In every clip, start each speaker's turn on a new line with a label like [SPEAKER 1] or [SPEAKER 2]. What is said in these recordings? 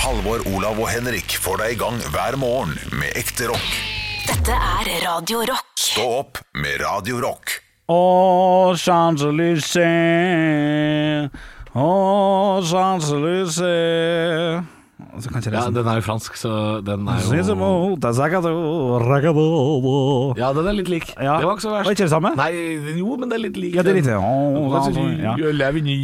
[SPEAKER 1] Halvor, Olav og Henrik får deg i gang hver morgen med ekte rock.
[SPEAKER 2] Dette er Radio Rock.
[SPEAKER 1] Stå opp med Radio Rock.
[SPEAKER 3] Å, Champs-Élysées, å, Champs-Élysées Og Så kan ikke
[SPEAKER 4] Ja,
[SPEAKER 3] resten.
[SPEAKER 4] den er jo fransk, så den er jo
[SPEAKER 3] Sisimo, tasakado, ragabobo.
[SPEAKER 4] Ja, den er litt lik.
[SPEAKER 3] Ja.
[SPEAKER 4] Det var ikke så verst.
[SPEAKER 3] Var ikke det samme?
[SPEAKER 4] Nei, jo, men det er litt lik.
[SPEAKER 3] Ja, det er litt-
[SPEAKER 4] den.
[SPEAKER 3] Å, ja.
[SPEAKER 4] Jeg lever i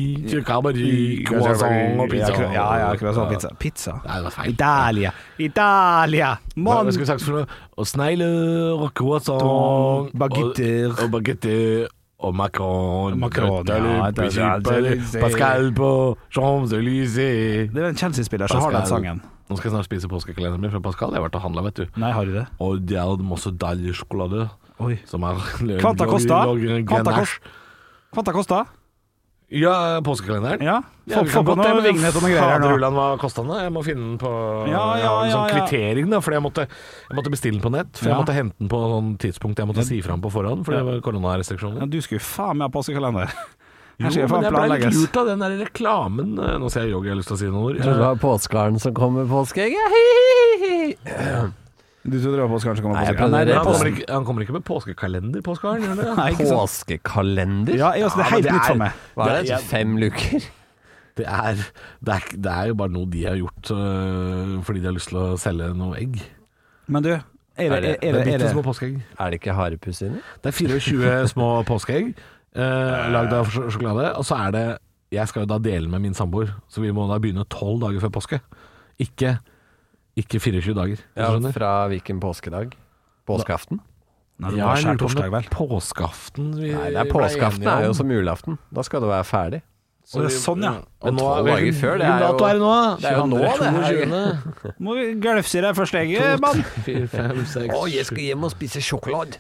[SPEAKER 4] Cabaret, croissant og
[SPEAKER 3] Ja,
[SPEAKER 4] pizza.
[SPEAKER 3] kro- Ja, ja, croissant pizza. Pizza.
[SPEAKER 4] Nei, det var feil.
[SPEAKER 3] Italia. Italia.
[SPEAKER 4] Hva
[SPEAKER 3] Mann.
[SPEAKER 4] hva skal vi sagt for noe? Og snegler, og croissant
[SPEAKER 3] Baguetter.
[SPEAKER 4] Og, og baguetter. Og macron.
[SPEAKER 3] Macron,
[SPEAKER 4] Dette er
[SPEAKER 3] ja,
[SPEAKER 4] litt
[SPEAKER 3] det er- det er litt-
[SPEAKER 4] Pascal- Pascal på Champs-Élysées.
[SPEAKER 3] Det er en kjendisspiller som har den
[SPEAKER 4] Pascal.
[SPEAKER 3] sangen.
[SPEAKER 4] Nå skal jeg snart spise påskekalenderen min fra Pascal. Jeg har vært og handla, vet du.
[SPEAKER 3] Nei, har du det?
[SPEAKER 4] Og det er masse deilig sjokolade.
[SPEAKER 3] Oi.
[SPEAKER 4] Som er
[SPEAKER 3] Quanta Costa.
[SPEAKER 4] lager en
[SPEAKER 3] Quanta
[SPEAKER 4] ganache.
[SPEAKER 3] Kvanta Kosta?
[SPEAKER 4] Ja, påskekalenderen.
[SPEAKER 3] Ja.
[SPEAKER 4] Ja,
[SPEAKER 3] Få
[SPEAKER 4] vi
[SPEAKER 3] få
[SPEAKER 4] kan
[SPEAKER 3] på
[SPEAKER 4] godt det,
[SPEAKER 3] noe
[SPEAKER 4] men
[SPEAKER 3] Vignes og noe greier her nå.
[SPEAKER 4] faderullan, hva kosta den? da? Jeg må finne den på
[SPEAKER 3] Ja, ja,
[SPEAKER 4] en sånn
[SPEAKER 3] ja, ja.
[SPEAKER 4] kvittering, da. For jeg måtte, jeg måtte bestille den på nett. For
[SPEAKER 3] Ja.
[SPEAKER 4] jeg måtte hente den på sånn tidspunkt jeg måtte si fram på forhånd, for det var
[SPEAKER 3] Ja,
[SPEAKER 4] koronarestriksjoner.
[SPEAKER 3] du skulle faen meg ha påskekalender. Her
[SPEAKER 4] Jo,
[SPEAKER 3] skal jeg
[SPEAKER 4] men
[SPEAKER 3] faen
[SPEAKER 4] jeg ble litt
[SPEAKER 3] planlegges.
[SPEAKER 4] lurt av den der reklamen eh, Nå ser jeg Yogi, jeg har lyst til å si noen ord.
[SPEAKER 5] Jeg trodde det
[SPEAKER 4] Eh,
[SPEAKER 5] var påskeharen som kom med påskeegget. Hihihihi.
[SPEAKER 3] Du trodde det var påske, kanskje kommer
[SPEAKER 5] Nei, jeg
[SPEAKER 3] påske.
[SPEAKER 5] prøvde-
[SPEAKER 3] Nei,
[SPEAKER 4] men
[SPEAKER 3] det er
[SPEAKER 4] han, kommer
[SPEAKER 3] påske.
[SPEAKER 4] ikke, han kommer ikke med påskekalender, påskeharen? gjør han det?
[SPEAKER 3] Nei, ikke sant.
[SPEAKER 5] Påskekalender?
[SPEAKER 3] Ja, jeg, altså, det er
[SPEAKER 4] Ja, men
[SPEAKER 3] helt
[SPEAKER 4] det
[SPEAKER 3] nytt
[SPEAKER 4] er-
[SPEAKER 3] for meg.
[SPEAKER 5] Hva er
[SPEAKER 4] Det
[SPEAKER 5] det?
[SPEAKER 4] er-
[SPEAKER 5] Fem luker?
[SPEAKER 4] Det er, det, er, det er jo bare noe de har gjort øh, fordi de har lyst til å selge noe egg.
[SPEAKER 3] Men du, er det,
[SPEAKER 5] Er det-
[SPEAKER 3] er det, er
[SPEAKER 4] bitte
[SPEAKER 3] det,
[SPEAKER 4] små påskeegg.
[SPEAKER 5] Er det ikke harepus inni?
[SPEAKER 4] Det er 24 små påskeegg øh, lagd av sj- sjokolade. Og så er det Jeg skal jo da dele med min samboer, så vi må da begynne tolv dager før påske. Ikke, ikke 24 dager. hvis du
[SPEAKER 5] Ja,
[SPEAKER 4] skjønner?
[SPEAKER 5] fra hvilken påskedag? Påskeaften?
[SPEAKER 3] Nei, det
[SPEAKER 4] Ja,
[SPEAKER 3] var
[SPEAKER 4] jeg lurer på om det
[SPEAKER 3] skjærtorsdag, vel?
[SPEAKER 4] er Påskeaften vi
[SPEAKER 5] Nei, det er
[SPEAKER 4] ble
[SPEAKER 5] påskeaften
[SPEAKER 4] enige om.
[SPEAKER 5] er jo som julaften. Da skal du være ferdig.
[SPEAKER 3] Å, ja, sånn, ja.
[SPEAKER 4] Og nå
[SPEAKER 5] tolv
[SPEAKER 4] er vi
[SPEAKER 5] dager før, det er
[SPEAKER 4] Hvilken dato
[SPEAKER 5] jo-
[SPEAKER 4] er det nå? da?
[SPEAKER 5] Det er jo nå, det er jo-
[SPEAKER 4] 22.,
[SPEAKER 3] Må vi glefse i deg første egget, mann?
[SPEAKER 4] 4, 5, 6
[SPEAKER 5] skal hjem og spise sjokolade.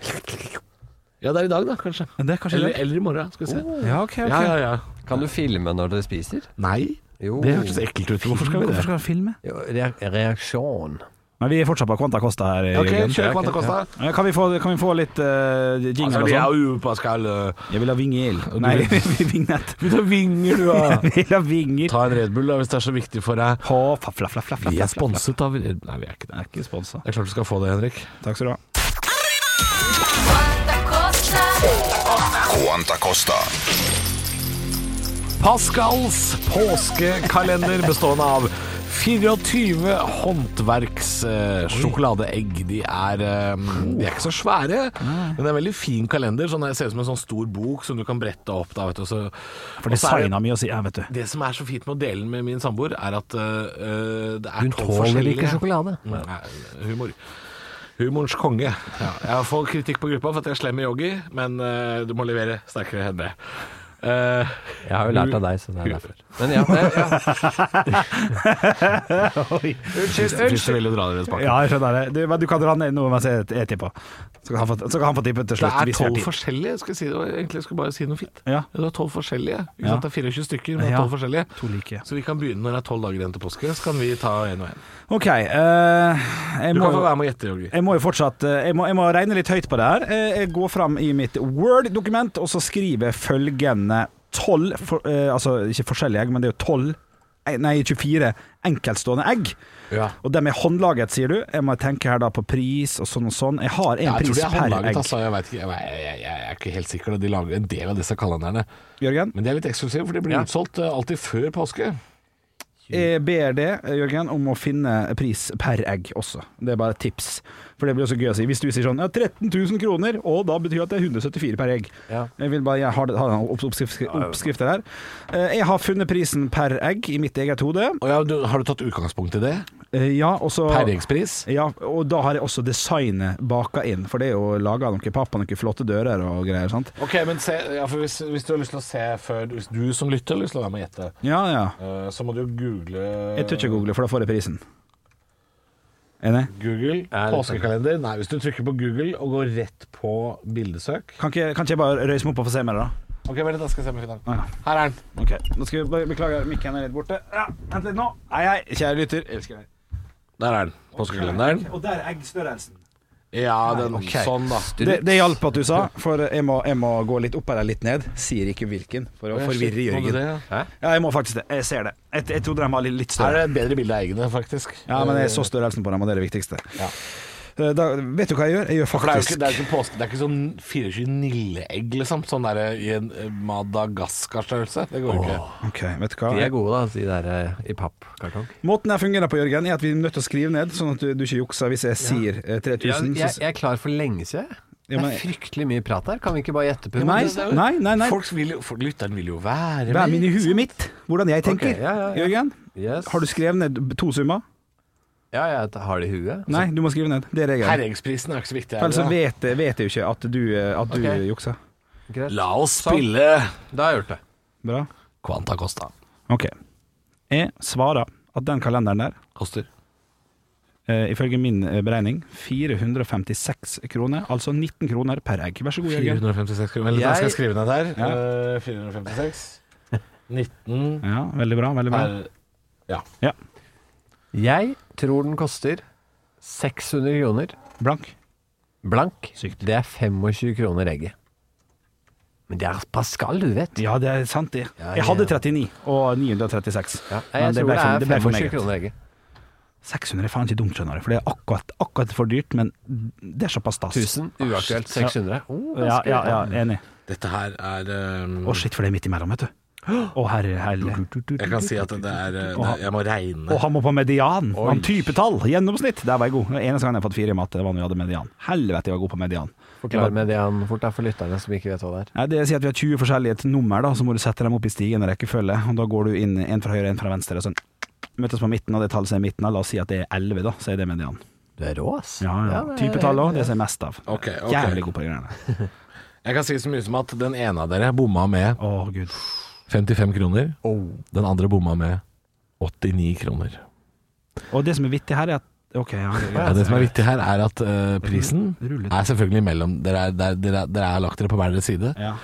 [SPEAKER 4] Ja, det er i dag, da, kanskje.
[SPEAKER 3] Det er kanskje
[SPEAKER 4] Eller,
[SPEAKER 3] det.
[SPEAKER 4] eller i morgen, skal vi se.
[SPEAKER 3] Ja, ok, ok.
[SPEAKER 4] Ja, ja, ja.
[SPEAKER 5] Kan du filme når dere spiser?
[SPEAKER 4] Nei,
[SPEAKER 5] Jo.
[SPEAKER 4] det hørtes ekkelt ut. Hvorfor skal vi
[SPEAKER 3] Oh. Hvorfor
[SPEAKER 4] det?
[SPEAKER 3] skal han filme?
[SPEAKER 5] Jo, re reaksjon.
[SPEAKER 3] Men vi er fortsatt på Quanta Costa her.
[SPEAKER 4] Ok,
[SPEAKER 3] Jørgen.
[SPEAKER 4] kjør Quanta Costa.
[SPEAKER 3] Ja, Kan vi få, kan vi få litt uh, jingle
[SPEAKER 4] Altså,
[SPEAKER 3] og
[SPEAKER 4] det
[SPEAKER 3] sånn?
[SPEAKER 4] er jo Pascal eh,
[SPEAKER 3] Jeg vil ha vingel. Nei, vignett.
[SPEAKER 4] Ut av vinger, du, da!
[SPEAKER 3] Jeg vil ha vinger.
[SPEAKER 4] Ta en Red Bull da, hvis det er så viktig for deg.
[SPEAKER 3] Hå, fla, fla, fla, fla, fla,
[SPEAKER 4] Vi er
[SPEAKER 3] fla, fla.
[SPEAKER 4] sponset av Red Bull. Nei, vi er ikke det.
[SPEAKER 3] Jeg er ikke sponsa.
[SPEAKER 4] Det er klart du skal få det, Henrik.
[SPEAKER 3] Takk skal du ha.
[SPEAKER 1] Quanta Costa.
[SPEAKER 4] Pascals påskekalender bestående av 24 håndverkssjokoladeegg. øh, De er eh, De er ikke så svære, men det er en veldig fin kalender. Sånn, det ser ut som en sånn stor bok som du kan brette opp. Da, vet du, og så,
[SPEAKER 3] For
[SPEAKER 4] og så er det-
[SPEAKER 3] designa mi å si ja, vet du.
[SPEAKER 4] Det som er så fint med å dele den med min samboer, er at øh, det er
[SPEAKER 5] Hun
[SPEAKER 4] tolv
[SPEAKER 5] tåler ikke
[SPEAKER 4] forskjellige-
[SPEAKER 5] sjokolade.
[SPEAKER 4] Nei, humor. Humorens konge. Ja, jeg får kritikk på gruppa for at jeg er slem med yogi, men øh, du må levere sterkere enn det. Eh,
[SPEAKER 5] Jeg har jo lært av deg, så det er derfor. Men ja, det, ja.
[SPEAKER 4] Christer Christer vil jo dra dere tilbake.
[SPEAKER 3] Ja, jeg skjønner det. Du, men du kan dra ned noe mens jeg, jeg tipper. Så kan, han få, så kan han få tippe til
[SPEAKER 4] Det
[SPEAKER 3] slutt.
[SPEAKER 4] er
[SPEAKER 3] hvis vi har
[SPEAKER 4] tolv
[SPEAKER 3] tid.
[SPEAKER 4] forskjellige. Jeg Skal si det, og egentlig skulle jeg bare si noe fint.
[SPEAKER 3] Ja.
[SPEAKER 4] Det er tolv forskjellige. Ikke
[SPEAKER 3] Ja.
[SPEAKER 4] sant? Det er 24 stykker, men det
[SPEAKER 3] Ja.
[SPEAKER 4] er tolv forskjellige.
[SPEAKER 3] To like.
[SPEAKER 4] Så vi kan begynne når det er tolv dager igjen til påske. Så kan vi ta en og en.
[SPEAKER 3] OK. eh, jeg,
[SPEAKER 4] Du
[SPEAKER 3] må,
[SPEAKER 4] kan
[SPEAKER 3] jo-
[SPEAKER 4] få være med og gjette, Yogi.
[SPEAKER 3] jeg må jo fortsatt eh, jeg må, jeg må regne litt høyt på det her. Eh, Jeg går fram i mitt Word-dokument, og så skriver jeg følgende tolv for, eh, Altså ikke forskjellige egg, men det er jo tolv eh, Nei, 24 enkeltstående egg.
[SPEAKER 4] Ja.
[SPEAKER 3] Og dem er håndlaget, sier du. Jeg må tenke her da på pris og sånn og sånn. Jeg har en
[SPEAKER 4] Ja, jeg tror
[SPEAKER 3] pris
[SPEAKER 4] de er
[SPEAKER 3] per
[SPEAKER 4] håndlaget,
[SPEAKER 3] egg.
[SPEAKER 4] altså. Jeg, vet ikke, jeg, jeg, jeg, jeg er ikke helt sikker. da. De lager en del av disse kalenderne.
[SPEAKER 3] Jørgen,
[SPEAKER 4] Men de er litt eksklusive, for de blir
[SPEAKER 5] Ja.
[SPEAKER 4] utsolgt eh, alltid før påske.
[SPEAKER 3] jeg ber det, eh, Jørgen, om å finne pris per egg også. Det er bare et tips. For det blir også gøy å si. Hvis du sier sånn ja, 13 000 kroner, og da betyr det at det er 174 per egg.
[SPEAKER 5] Ja.
[SPEAKER 3] Jeg vil bare, jeg har, det- har en opps- oppskrift, oppskrifter her. Eh, Jeg har funnet prisen per egg i mitt eget hode.
[SPEAKER 4] Og ja, du, har du tatt utgangspunkt i det?
[SPEAKER 3] Eh, Ja, og så
[SPEAKER 4] Perringspris?
[SPEAKER 3] ja, og da har jeg også designet baka inn, for det er jo laga noe papp og noen flotte dører og greier, sant.
[SPEAKER 4] Ok, men se, ja, for hvis, hvis du har lyst til å se før Hvis du som lytter har lyst til å være med og gjette,
[SPEAKER 3] Ja, ja.
[SPEAKER 4] eh, så må du jo google
[SPEAKER 3] Jeg tør ikke google, for da får jeg prisen. Enig?
[SPEAKER 4] Google
[SPEAKER 5] Ja, litt sånn.
[SPEAKER 4] påskekalender. Nei, hvis du trykker på Google og går rett på bildesøk
[SPEAKER 3] Kan ikke, kan ikke jeg bare røyse meg opp og få se mer, da?
[SPEAKER 4] Ok, vent litt, da skal jeg se om jeg finner
[SPEAKER 3] Ah, ja.
[SPEAKER 4] den. Her er den.
[SPEAKER 3] Ok, nå skal vi bare beklage mikken er litt borte. Ja, Vent litt nå. Hei, hei, kjære lytter. Elsker deg.
[SPEAKER 4] Der er den. Påskekalenderen.
[SPEAKER 3] Og der er eggstørrelsen.
[SPEAKER 4] Ja, den, sånn, da.
[SPEAKER 3] Det, det hjalp at du sa, for jeg må, jeg må gå litt opp eller litt ned. Sier ikke hvilken, for å forvirre
[SPEAKER 6] Må du
[SPEAKER 3] Jørgen.
[SPEAKER 6] det, ja?
[SPEAKER 3] Ja, jeg må faktisk det. Jeg ser det. Jeg, jeg trodde de var litt, litt
[SPEAKER 4] Her
[SPEAKER 3] større.
[SPEAKER 4] er det Eh. et bedre bilde av eggene, faktisk.
[SPEAKER 3] Ja, men jeg så størrelsen på dem, og det er det viktigste. Eh, Da, vet du hva jeg gjør? Jeg gjør
[SPEAKER 4] For det er jo
[SPEAKER 3] faktisk
[SPEAKER 4] ikke, det er jo ikke, påske, det er ikke sånn 24 Nille-egg, liksom. Sånn der i en eh, Madagaskar-størrelse. Det går jo ikke.
[SPEAKER 3] Ok, vet du hva?
[SPEAKER 5] De er gode, da, de der eh, i pappkartong.
[SPEAKER 3] Måten jeg fungerer på, Jørgen, er at vi er nødt til å skrive ned, sånn at du, du ikke jukser hvis jeg sier eh, 3000.
[SPEAKER 5] jeg,
[SPEAKER 3] så-
[SPEAKER 5] jeg er klar for lenge siden.
[SPEAKER 3] Ja,
[SPEAKER 5] Det
[SPEAKER 3] men-
[SPEAKER 5] er fryktelig mye prat her. Kan vi ikke bare gjette på
[SPEAKER 3] Nei,
[SPEAKER 5] det?
[SPEAKER 3] nei, nei. nei.
[SPEAKER 4] Folk vil jo, folk, lytteren vil jo være
[SPEAKER 3] Vær min
[SPEAKER 4] med.
[SPEAKER 3] i huet mitt, hvordan jeg tenker.
[SPEAKER 5] ja, ja, ja.
[SPEAKER 3] Jørgen,
[SPEAKER 5] Yes.
[SPEAKER 3] har du skrevet ned to summer?
[SPEAKER 5] Ja, jeg har det i huet.
[SPEAKER 3] Nei, du må skrive ned. Det er regelen.
[SPEAKER 4] Herreggsprisen er ikke så viktig.
[SPEAKER 3] For Ellers så
[SPEAKER 4] Her, da.
[SPEAKER 3] Altså, vet, vet jeg jo ikke at du, eh, at du
[SPEAKER 5] Ok.
[SPEAKER 3] jukser.
[SPEAKER 5] Sånn, Greit.
[SPEAKER 4] La oss spille
[SPEAKER 5] Da har jeg gjort det.
[SPEAKER 3] Bra.
[SPEAKER 4] Quanta Costa.
[SPEAKER 3] Ok. Jeg svarer at den kalenderen der,
[SPEAKER 4] Koster.
[SPEAKER 3] eh, ifølge min eh, beregning, 456 kroner, altså 19 kroner per egg. Vær så god, Jørgen.
[SPEAKER 6] 456 kroner. Vent, da
[SPEAKER 5] Jeg-
[SPEAKER 6] skal jeg skrive ned her.
[SPEAKER 3] Ja.
[SPEAKER 6] Eh, 456. 19
[SPEAKER 3] Ja, veldig bra, veldig bra.
[SPEAKER 6] er
[SPEAKER 3] Ja,
[SPEAKER 5] Jeg tror den koster 600 kroner
[SPEAKER 3] blank.
[SPEAKER 5] blank.
[SPEAKER 3] Sykt.
[SPEAKER 5] Det er 25 kroner egget. Men det er Pascal, du vet.
[SPEAKER 3] Ja, det er sant det.
[SPEAKER 5] Ja,
[SPEAKER 3] Jeg hadde 39 og 936.
[SPEAKER 5] Ja,
[SPEAKER 3] Men
[SPEAKER 5] jeg tror
[SPEAKER 3] ble
[SPEAKER 5] det
[SPEAKER 3] for-
[SPEAKER 5] er
[SPEAKER 3] det ble for
[SPEAKER 5] 25
[SPEAKER 3] meget.
[SPEAKER 5] kroner egget.
[SPEAKER 3] 600 er faen ikke dumt, skjønner du, for det er akkurat, akkurat for dyrt, men det er såpass stas.
[SPEAKER 5] 1000, uaktuelt 600. Oh, ganske
[SPEAKER 3] Ja, ja, ja,
[SPEAKER 5] bra.
[SPEAKER 3] enig.
[SPEAKER 4] Dette her er eh,
[SPEAKER 3] Å, shit, for det er midt imellom, vet du. Å, herre, herre.
[SPEAKER 4] Jeg kan si at det er eh, det, Jeg må regne.
[SPEAKER 3] Og han må på median. Han typetall. Gjennomsnitt. Der var jeg god. Den eneste gangen jeg har fått fire i matte, det var når jeg hadde median. Helvete, jeg var god på median.
[SPEAKER 5] Forklar med det han fort er for lytterne som ikke vet hva det er.
[SPEAKER 3] Nei, det sier at vi har 20 forskjellige t- nummer, da, så må du sette dem opp i stigende rekkefølge. Og da går du inn en fra høyre, en fra venstre, og sånn. Møtes på midten, og det tallet som er i midten av, la oss si at det er 11, da, så er det median.
[SPEAKER 5] Du er rå, ass.
[SPEAKER 3] Ja, ja.
[SPEAKER 5] det er-
[SPEAKER 3] Typetall òg, det som er mest av.
[SPEAKER 4] Ok, ok.
[SPEAKER 3] Jævlig god på de greiene.
[SPEAKER 4] Jeg kan si så mye som at den ene av dere bomma med
[SPEAKER 3] Å, gud.
[SPEAKER 4] 55 kroner.
[SPEAKER 3] Oh.
[SPEAKER 4] Den andre bomma med 89 kroner.
[SPEAKER 3] Og det som er vittig her, er at Ok, ja.
[SPEAKER 4] Ja, det som er viktig her, er at eh, prisen
[SPEAKER 3] Rullet.
[SPEAKER 4] er selvfølgelig mellom Dere er, dere, dere, dere er lagt dere på hver deres side.
[SPEAKER 3] Ja,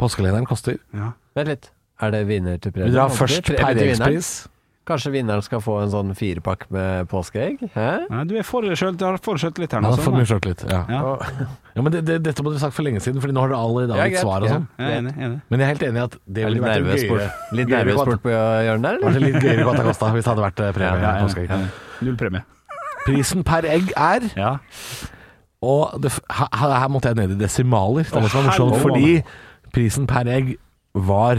[SPEAKER 4] Påskelederen koster.
[SPEAKER 3] ja.
[SPEAKER 5] Vent litt. Er det vinner til premie?
[SPEAKER 4] Vil dere ha først
[SPEAKER 5] Premie til vinneren?
[SPEAKER 4] peiringspris?
[SPEAKER 5] Kanskje vinneren skal få en sånn firepakk med påskeegg? Hæ?
[SPEAKER 3] Nei, du er for sjøl- du har for sjøltillit her
[SPEAKER 4] Ja,
[SPEAKER 3] nå.
[SPEAKER 4] da får
[SPEAKER 3] Sånn,
[SPEAKER 4] vi
[SPEAKER 3] da.
[SPEAKER 4] kjørt litt. Ja.
[SPEAKER 3] Ja.
[SPEAKER 5] Og-
[SPEAKER 4] Ja, men det, det, dette må dere sagt for lenge siden, Fordi nå har dere allerede
[SPEAKER 5] Ja,
[SPEAKER 4] gitt
[SPEAKER 5] greit.
[SPEAKER 4] svar og
[SPEAKER 5] Ja.
[SPEAKER 4] sånn.
[SPEAKER 3] Jeg er enig. enig.
[SPEAKER 4] Men jeg er helt enig i at det
[SPEAKER 5] Jeg er
[SPEAKER 4] ville
[SPEAKER 5] litt
[SPEAKER 4] vært
[SPEAKER 5] nervøs
[SPEAKER 4] en
[SPEAKER 5] bort,
[SPEAKER 4] gøyere
[SPEAKER 5] litt
[SPEAKER 4] gøyere
[SPEAKER 5] nervøs
[SPEAKER 4] kvanta-
[SPEAKER 5] bort på hjørnet der,
[SPEAKER 4] Kanskje
[SPEAKER 5] eller?
[SPEAKER 4] litt gøyere Quanta Costa hvis det hadde vært eh,
[SPEAKER 3] Ja,
[SPEAKER 4] premie.
[SPEAKER 3] ja,
[SPEAKER 4] påskeegg.
[SPEAKER 3] ja, ja. Null premie.
[SPEAKER 4] Prisen per egg er
[SPEAKER 3] Ja.
[SPEAKER 4] Og det, f- her, her her måtte jeg ned i desimaler. Det var det som var morsomt,
[SPEAKER 3] helvete.
[SPEAKER 4] fordi prisen per egg var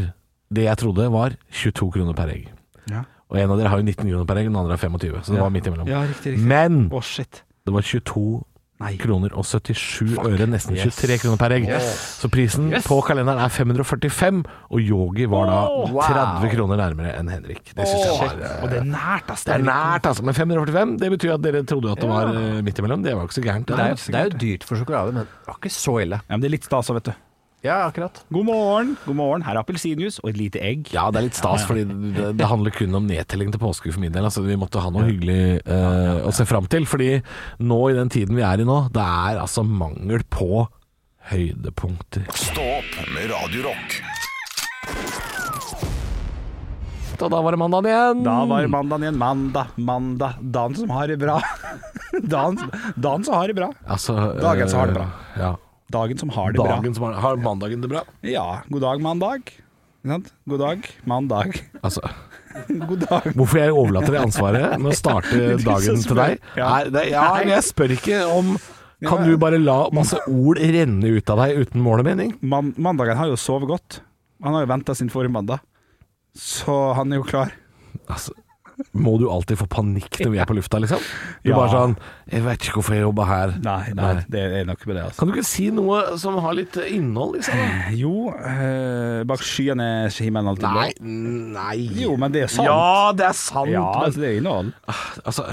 [SPEAKER 4] det jeg trodde var 22 kroner per egg.
[SPEAKER 3] Ja.
[SPEAKER 4] Og en av dere har jo 19 kroner per egg, den andre har 25, så det var midt imellom.
[SPEAKER 3] Ja, riktig, riktig.
[SPEAKER 4] Men
[SPEAKER 3] Å, shit.
[SPEAKER 4] det var 22
[SPEAKER 3] Nei.
[SPEAKER 4] kroner og 77 øre, nesten 23 kroner per egg. Så prisen på kalenderen er 545, og Yogi var da 30 kroner nærmere enn Henrik. Det synes jeg var eh,
[SPEAKER 3] Og det er nært, ass.
[SPEAKER 4] det er nært, altså. Men 545, det betyr at dere trodde at det var eh, midt imellom. Det var jo ikke så gærent.
[SPEAKER 5] Det er, jo, det er jo dyrt for sjokolade, men det var ikke så ille.
[SPEAKER 3] Ja, men det er litt stas òg, vet du.
[SPEAKER 5] Ja, akkurat.
[SPEAKER 3] God morgen. God morgen. Her er appelsinjuice og et lite egg.
[SPEAKER 4] Ja, det er litt stas, fordi det, det handler kun om nedtelling til påske for min del. Altså, vi måtte ha noe hyggelig eh, å se fram til. Fordi nå i den tiden vi er i nå, det er altså mangel på høydepunkter.
[SPEAKER 1] Stå opp med Radio Rock.
[SPEAKER 4] Og da var det mandag igjen.
[SPEAKER 3] Da var mandagen igjen. Mandag, mandag. Dagen som har det bra. Dagen, dagen som har det bra.
[SPEAKER 4] altså,
[SPEAKER 3] Dagen som har det bra.
[SPEAKER 4] eh, Ja.
[SPEAKER 3] Dagen som har det bra.
[SPEAKER 4] Dagen som har, har mandagen det bra?
[SPEAKER 3] Ja. God dag, mandag. Ikke sant? God dag, mandag.
[SPEAKER 4] Altså,
[SPEAKER 3] God dag.
[SPEAKER 4] hvorfor jeg overlater det ansvaret med å starte
[SPEAKER 3] Du som
[SPEAKER 4] dagen til
[SPEAKER 3] spør.
[SPEAKER 4] deg?
[SPEAKER 3] Ja.
[SPEAKER 4] Nei, det, ja, men jeg spør ikke om Kan du bare la masse ord renne ut av deg uten mål og mening?
[SPEAKER 3] Man, mandagen har jo sovet godt. Han har jo venta sin forrige mandag, så han er jo klar.
[SPEAKER 4] Altså, må du alltid få panikk når vi er på lufta, liksom? Du
[SPEAKER 3] Ja.
[SPEAKER 4] bare sånn 'Jeg vet ikke hvorfor jeg jobber her'.
[SPEAKER 3] det er nok med det, altså.
[SPEAKER 4] Kan du ikke si noe som har litt innhold, liksom?
[SPEAKER 3] Jo, eh, bak skyene er ikke himmelen alltid blå.
[SPEAKER 4] nei
[SPEAKER 3] Jo, men det er sant.
[SPEAKER 4] Ja, det er sant!
[SPEAKER 3] Ja,
[SPEAKER 4] men,
[SPEAKER 3] altså, det er innhold.
[SPEAKER 4] altså,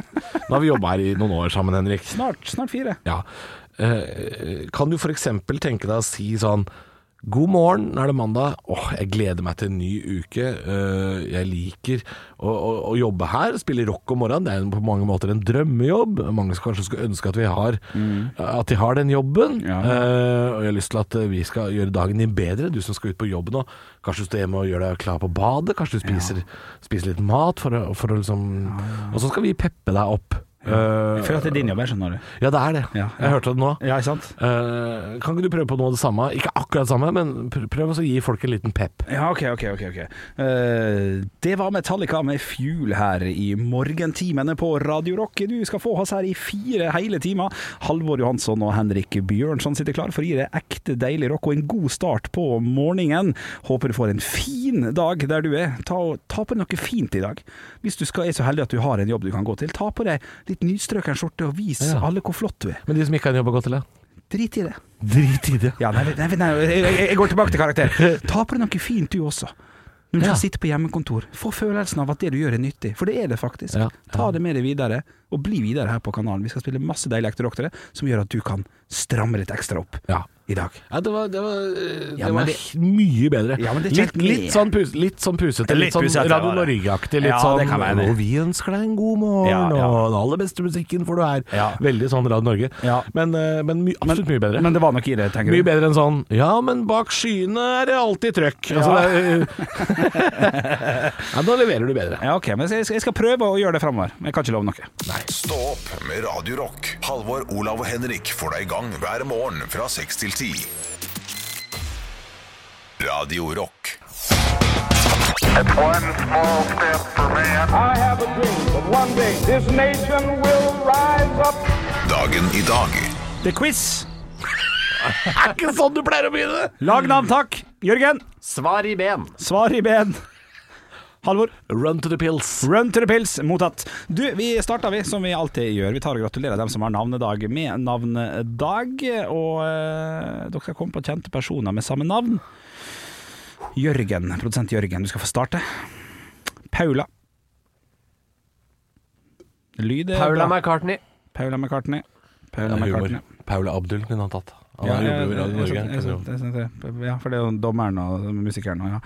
[SPEAKER 4] nå har vi jobba her i noen år sammen, Henrik.
[SPEAKER 3] Snart, snart fire.
[SPEAKER 4] Ja. Eh, kan du f.eks. tenke deg å si sånn God morgen, nå er det mandag. Åh, jeg gleder meg til en ny uke. Eh, jeg liker å, å, å jobbe her. Spille rock om morgenen. Det er jo på mange måter en drømmejobb. Mange som kanskje skulle ønske at, vi har, at de har den jobben.
[SPEAKER 3] Ja.
[SPEAKER 4] Eh, og jeg har lyst til at eh, vi skal gjøre dagen din bedre. Du som skal ut på jobb nå. Kanskje du står hjemme og gjør deg klar på badet. Kanskje du spiser, spiser litt mat for å, for å liksom Og så skal vi peppe deg opp.
[SPEAKER 3] Jeg føler at det er din jobb, jeg skjønner det.
[SPEAKER 4] Ja, det er det.
[SPEAKER 3] Ja,
[SPEAKER 4] Jeg hørte det nå.
[SPEAKER 3] Ja, ikke sant?
[SPEAKER 4] Eh, kan ikke du prøve på noe av det samme? Ikke akkurat det samme, men pr- prøv også å gi folk en liten pep.
[SPEAKER 3] Ja, ok, ok, ok. ok. Eh, det var Metallica med Fuel her i morgentimene på Radio Rock. Du skal få oss her i fire hele timer. Halvor Johansson og Henrik Bjørnson sitter klar for å gi deg ekte deilig rock og en god start på morgenen. Håper du får en fin dag der du er. Ta, og- ta på deg noe fint i dag. Hvis du skal, er så heldig at du har en jobb du kan gå til, ta på deg litt nystrøken skjorte og vis
[SPEAKER 4] Ja.
[SPEAKER 3] alle hvor flott du er.
[SPEAKER 4] Men de som ikke har en jobb å gå til, da?
[SPEAKER 3] Drit i det.
[SPEAKER 4] Drit i det.
[SPEAKER 3] Ja, nei, nei, nei jeg, jeg- jeg går tilbake til karakter. Ta på deg noe fint, du også. Når du
[SPEAKER 4] Ja.
[SPEAKER 3] skal sitte på hjemmekontor, få følelsen av at det du gjør er nyttig, for det er det faktisk.
[SPEAKER 4] Ja,
[SPEAKER 3] Ta det med deg videre, og bli videre her på kanalen. Vi skal spille masse deilig ekte rock til deg, som gjør at du kan stramme litt ekstra opp
[SPEAKER 4] Ja.
[SPEAKER 3] i dag.
[SPEAKER 4] Ja, det var, det var, eh,
[SPEAKER 3] Ja, men
[SPEAKER 4] det var
[SPEAKER 3] det-
[SPEAKER 4] he- mye bedre.
[SPEAKER 3] Ja, men det er
[SPEAKER 4] litt,
[SPEAKER 3] ikke helt
[SPEAKER 4] litt,
[SPEAKER 3] med.
[SPEAKER 4] sånn pus, litt sånn pusete, litt,
[SPEAKER 3] Litt
[SPEAKER 4] sånn
[SPEAKER 3] pusete,
[SPEAKER 4] Radio
[SPEAKER 3] det var det.
[SPEAKER 4] Norge-aktig. Litt
[SPEAKER 3] Ja, det kan være
[SPEAKER 4] sånn
[SPEAKER 3] det.
[SPEAKER 4] «Å, vi ønsker deg en god morgen,
[SPEAKER 3] Ja, ja.
[SPEAKER 4] og den aller beste musikken får du her.
[SPEAKER 3] Ja.
[SPEAKER 4] Veldig sånn Radio Norge.
[SPEAKER 3] Ja.
[SPEAKER 4] Men, eh, men my, absolutt mye bedre.
[SPEAKER 3] Men det var nok i det, tenker du.
[SPEAKER 4] mye bedre enn sånn Ja, men bak skyene er det alltid trøkk. Altså,
[SPEAKER 3] Ja.
[SPEAKER 4] det er- ja, da leverer du bedre.
[SPEAKER 3] Ja, ok, men jeg skal, jeg skal prøve å gjøre det framover. Jeg kan ikke love noe.
[SPEAKER 1] Stå opp med Radio Rock. Halvor, Olav og Henrik får deg i gang hver morgen fra 6 til 10. Radio Rock.
[SPEAKER 7] One small step for man.
[SPEAKER 8] I have a dream that one day this nation will rise up.
[SPEAKER 1] Dagen i dag.
[SPEAKER 3] The quiz.
[SPEAKER 4] Er ikke sånn du pleier å begynne!
[SPEAKER 3] Lag navn, takk. Jørgen,
[SPEAKER 5] Svar i ben.
[SPEAKER 3] svar i ben. Halvor.
[SPEAKER 4] Run to the pills.
[SPEAKER 3] Run to the pills, mottatt. Du, vi starter vi, som vi alltid gjør. Vi tar og gratulerer dem som har navnedag med navnedag. Og eh, dere skal komme på kjente personer med samme navn. Jørgen, produsent Jørgen, du skal få starte. Paula. Lyd er
[SPEAKER 5] Paula
[SPEAKER 3] bra.
[SPEAKER 5] McCartney.
[SPEAKER 3] Paula McCartney. Paula McCartney.
[SPEAKER 4] Paula Abdul kunne han tatt. Han
[SPEAKER 3] Ja, jeg-
[SPEAKER 4] jobber i Radio
[SPEAKER 3] jeg-
[SPEAKER 4] Norge.
[SPEAKER 3] jeg-
[SPEAKER 4] han
[SPEAKER 3] jeg-
[SPEAKER 4] kunne jo-
[SPEAKER 3] jeg- jeg- jeg- jeg- Ja, for det er jo dommeren og musikeren og ja.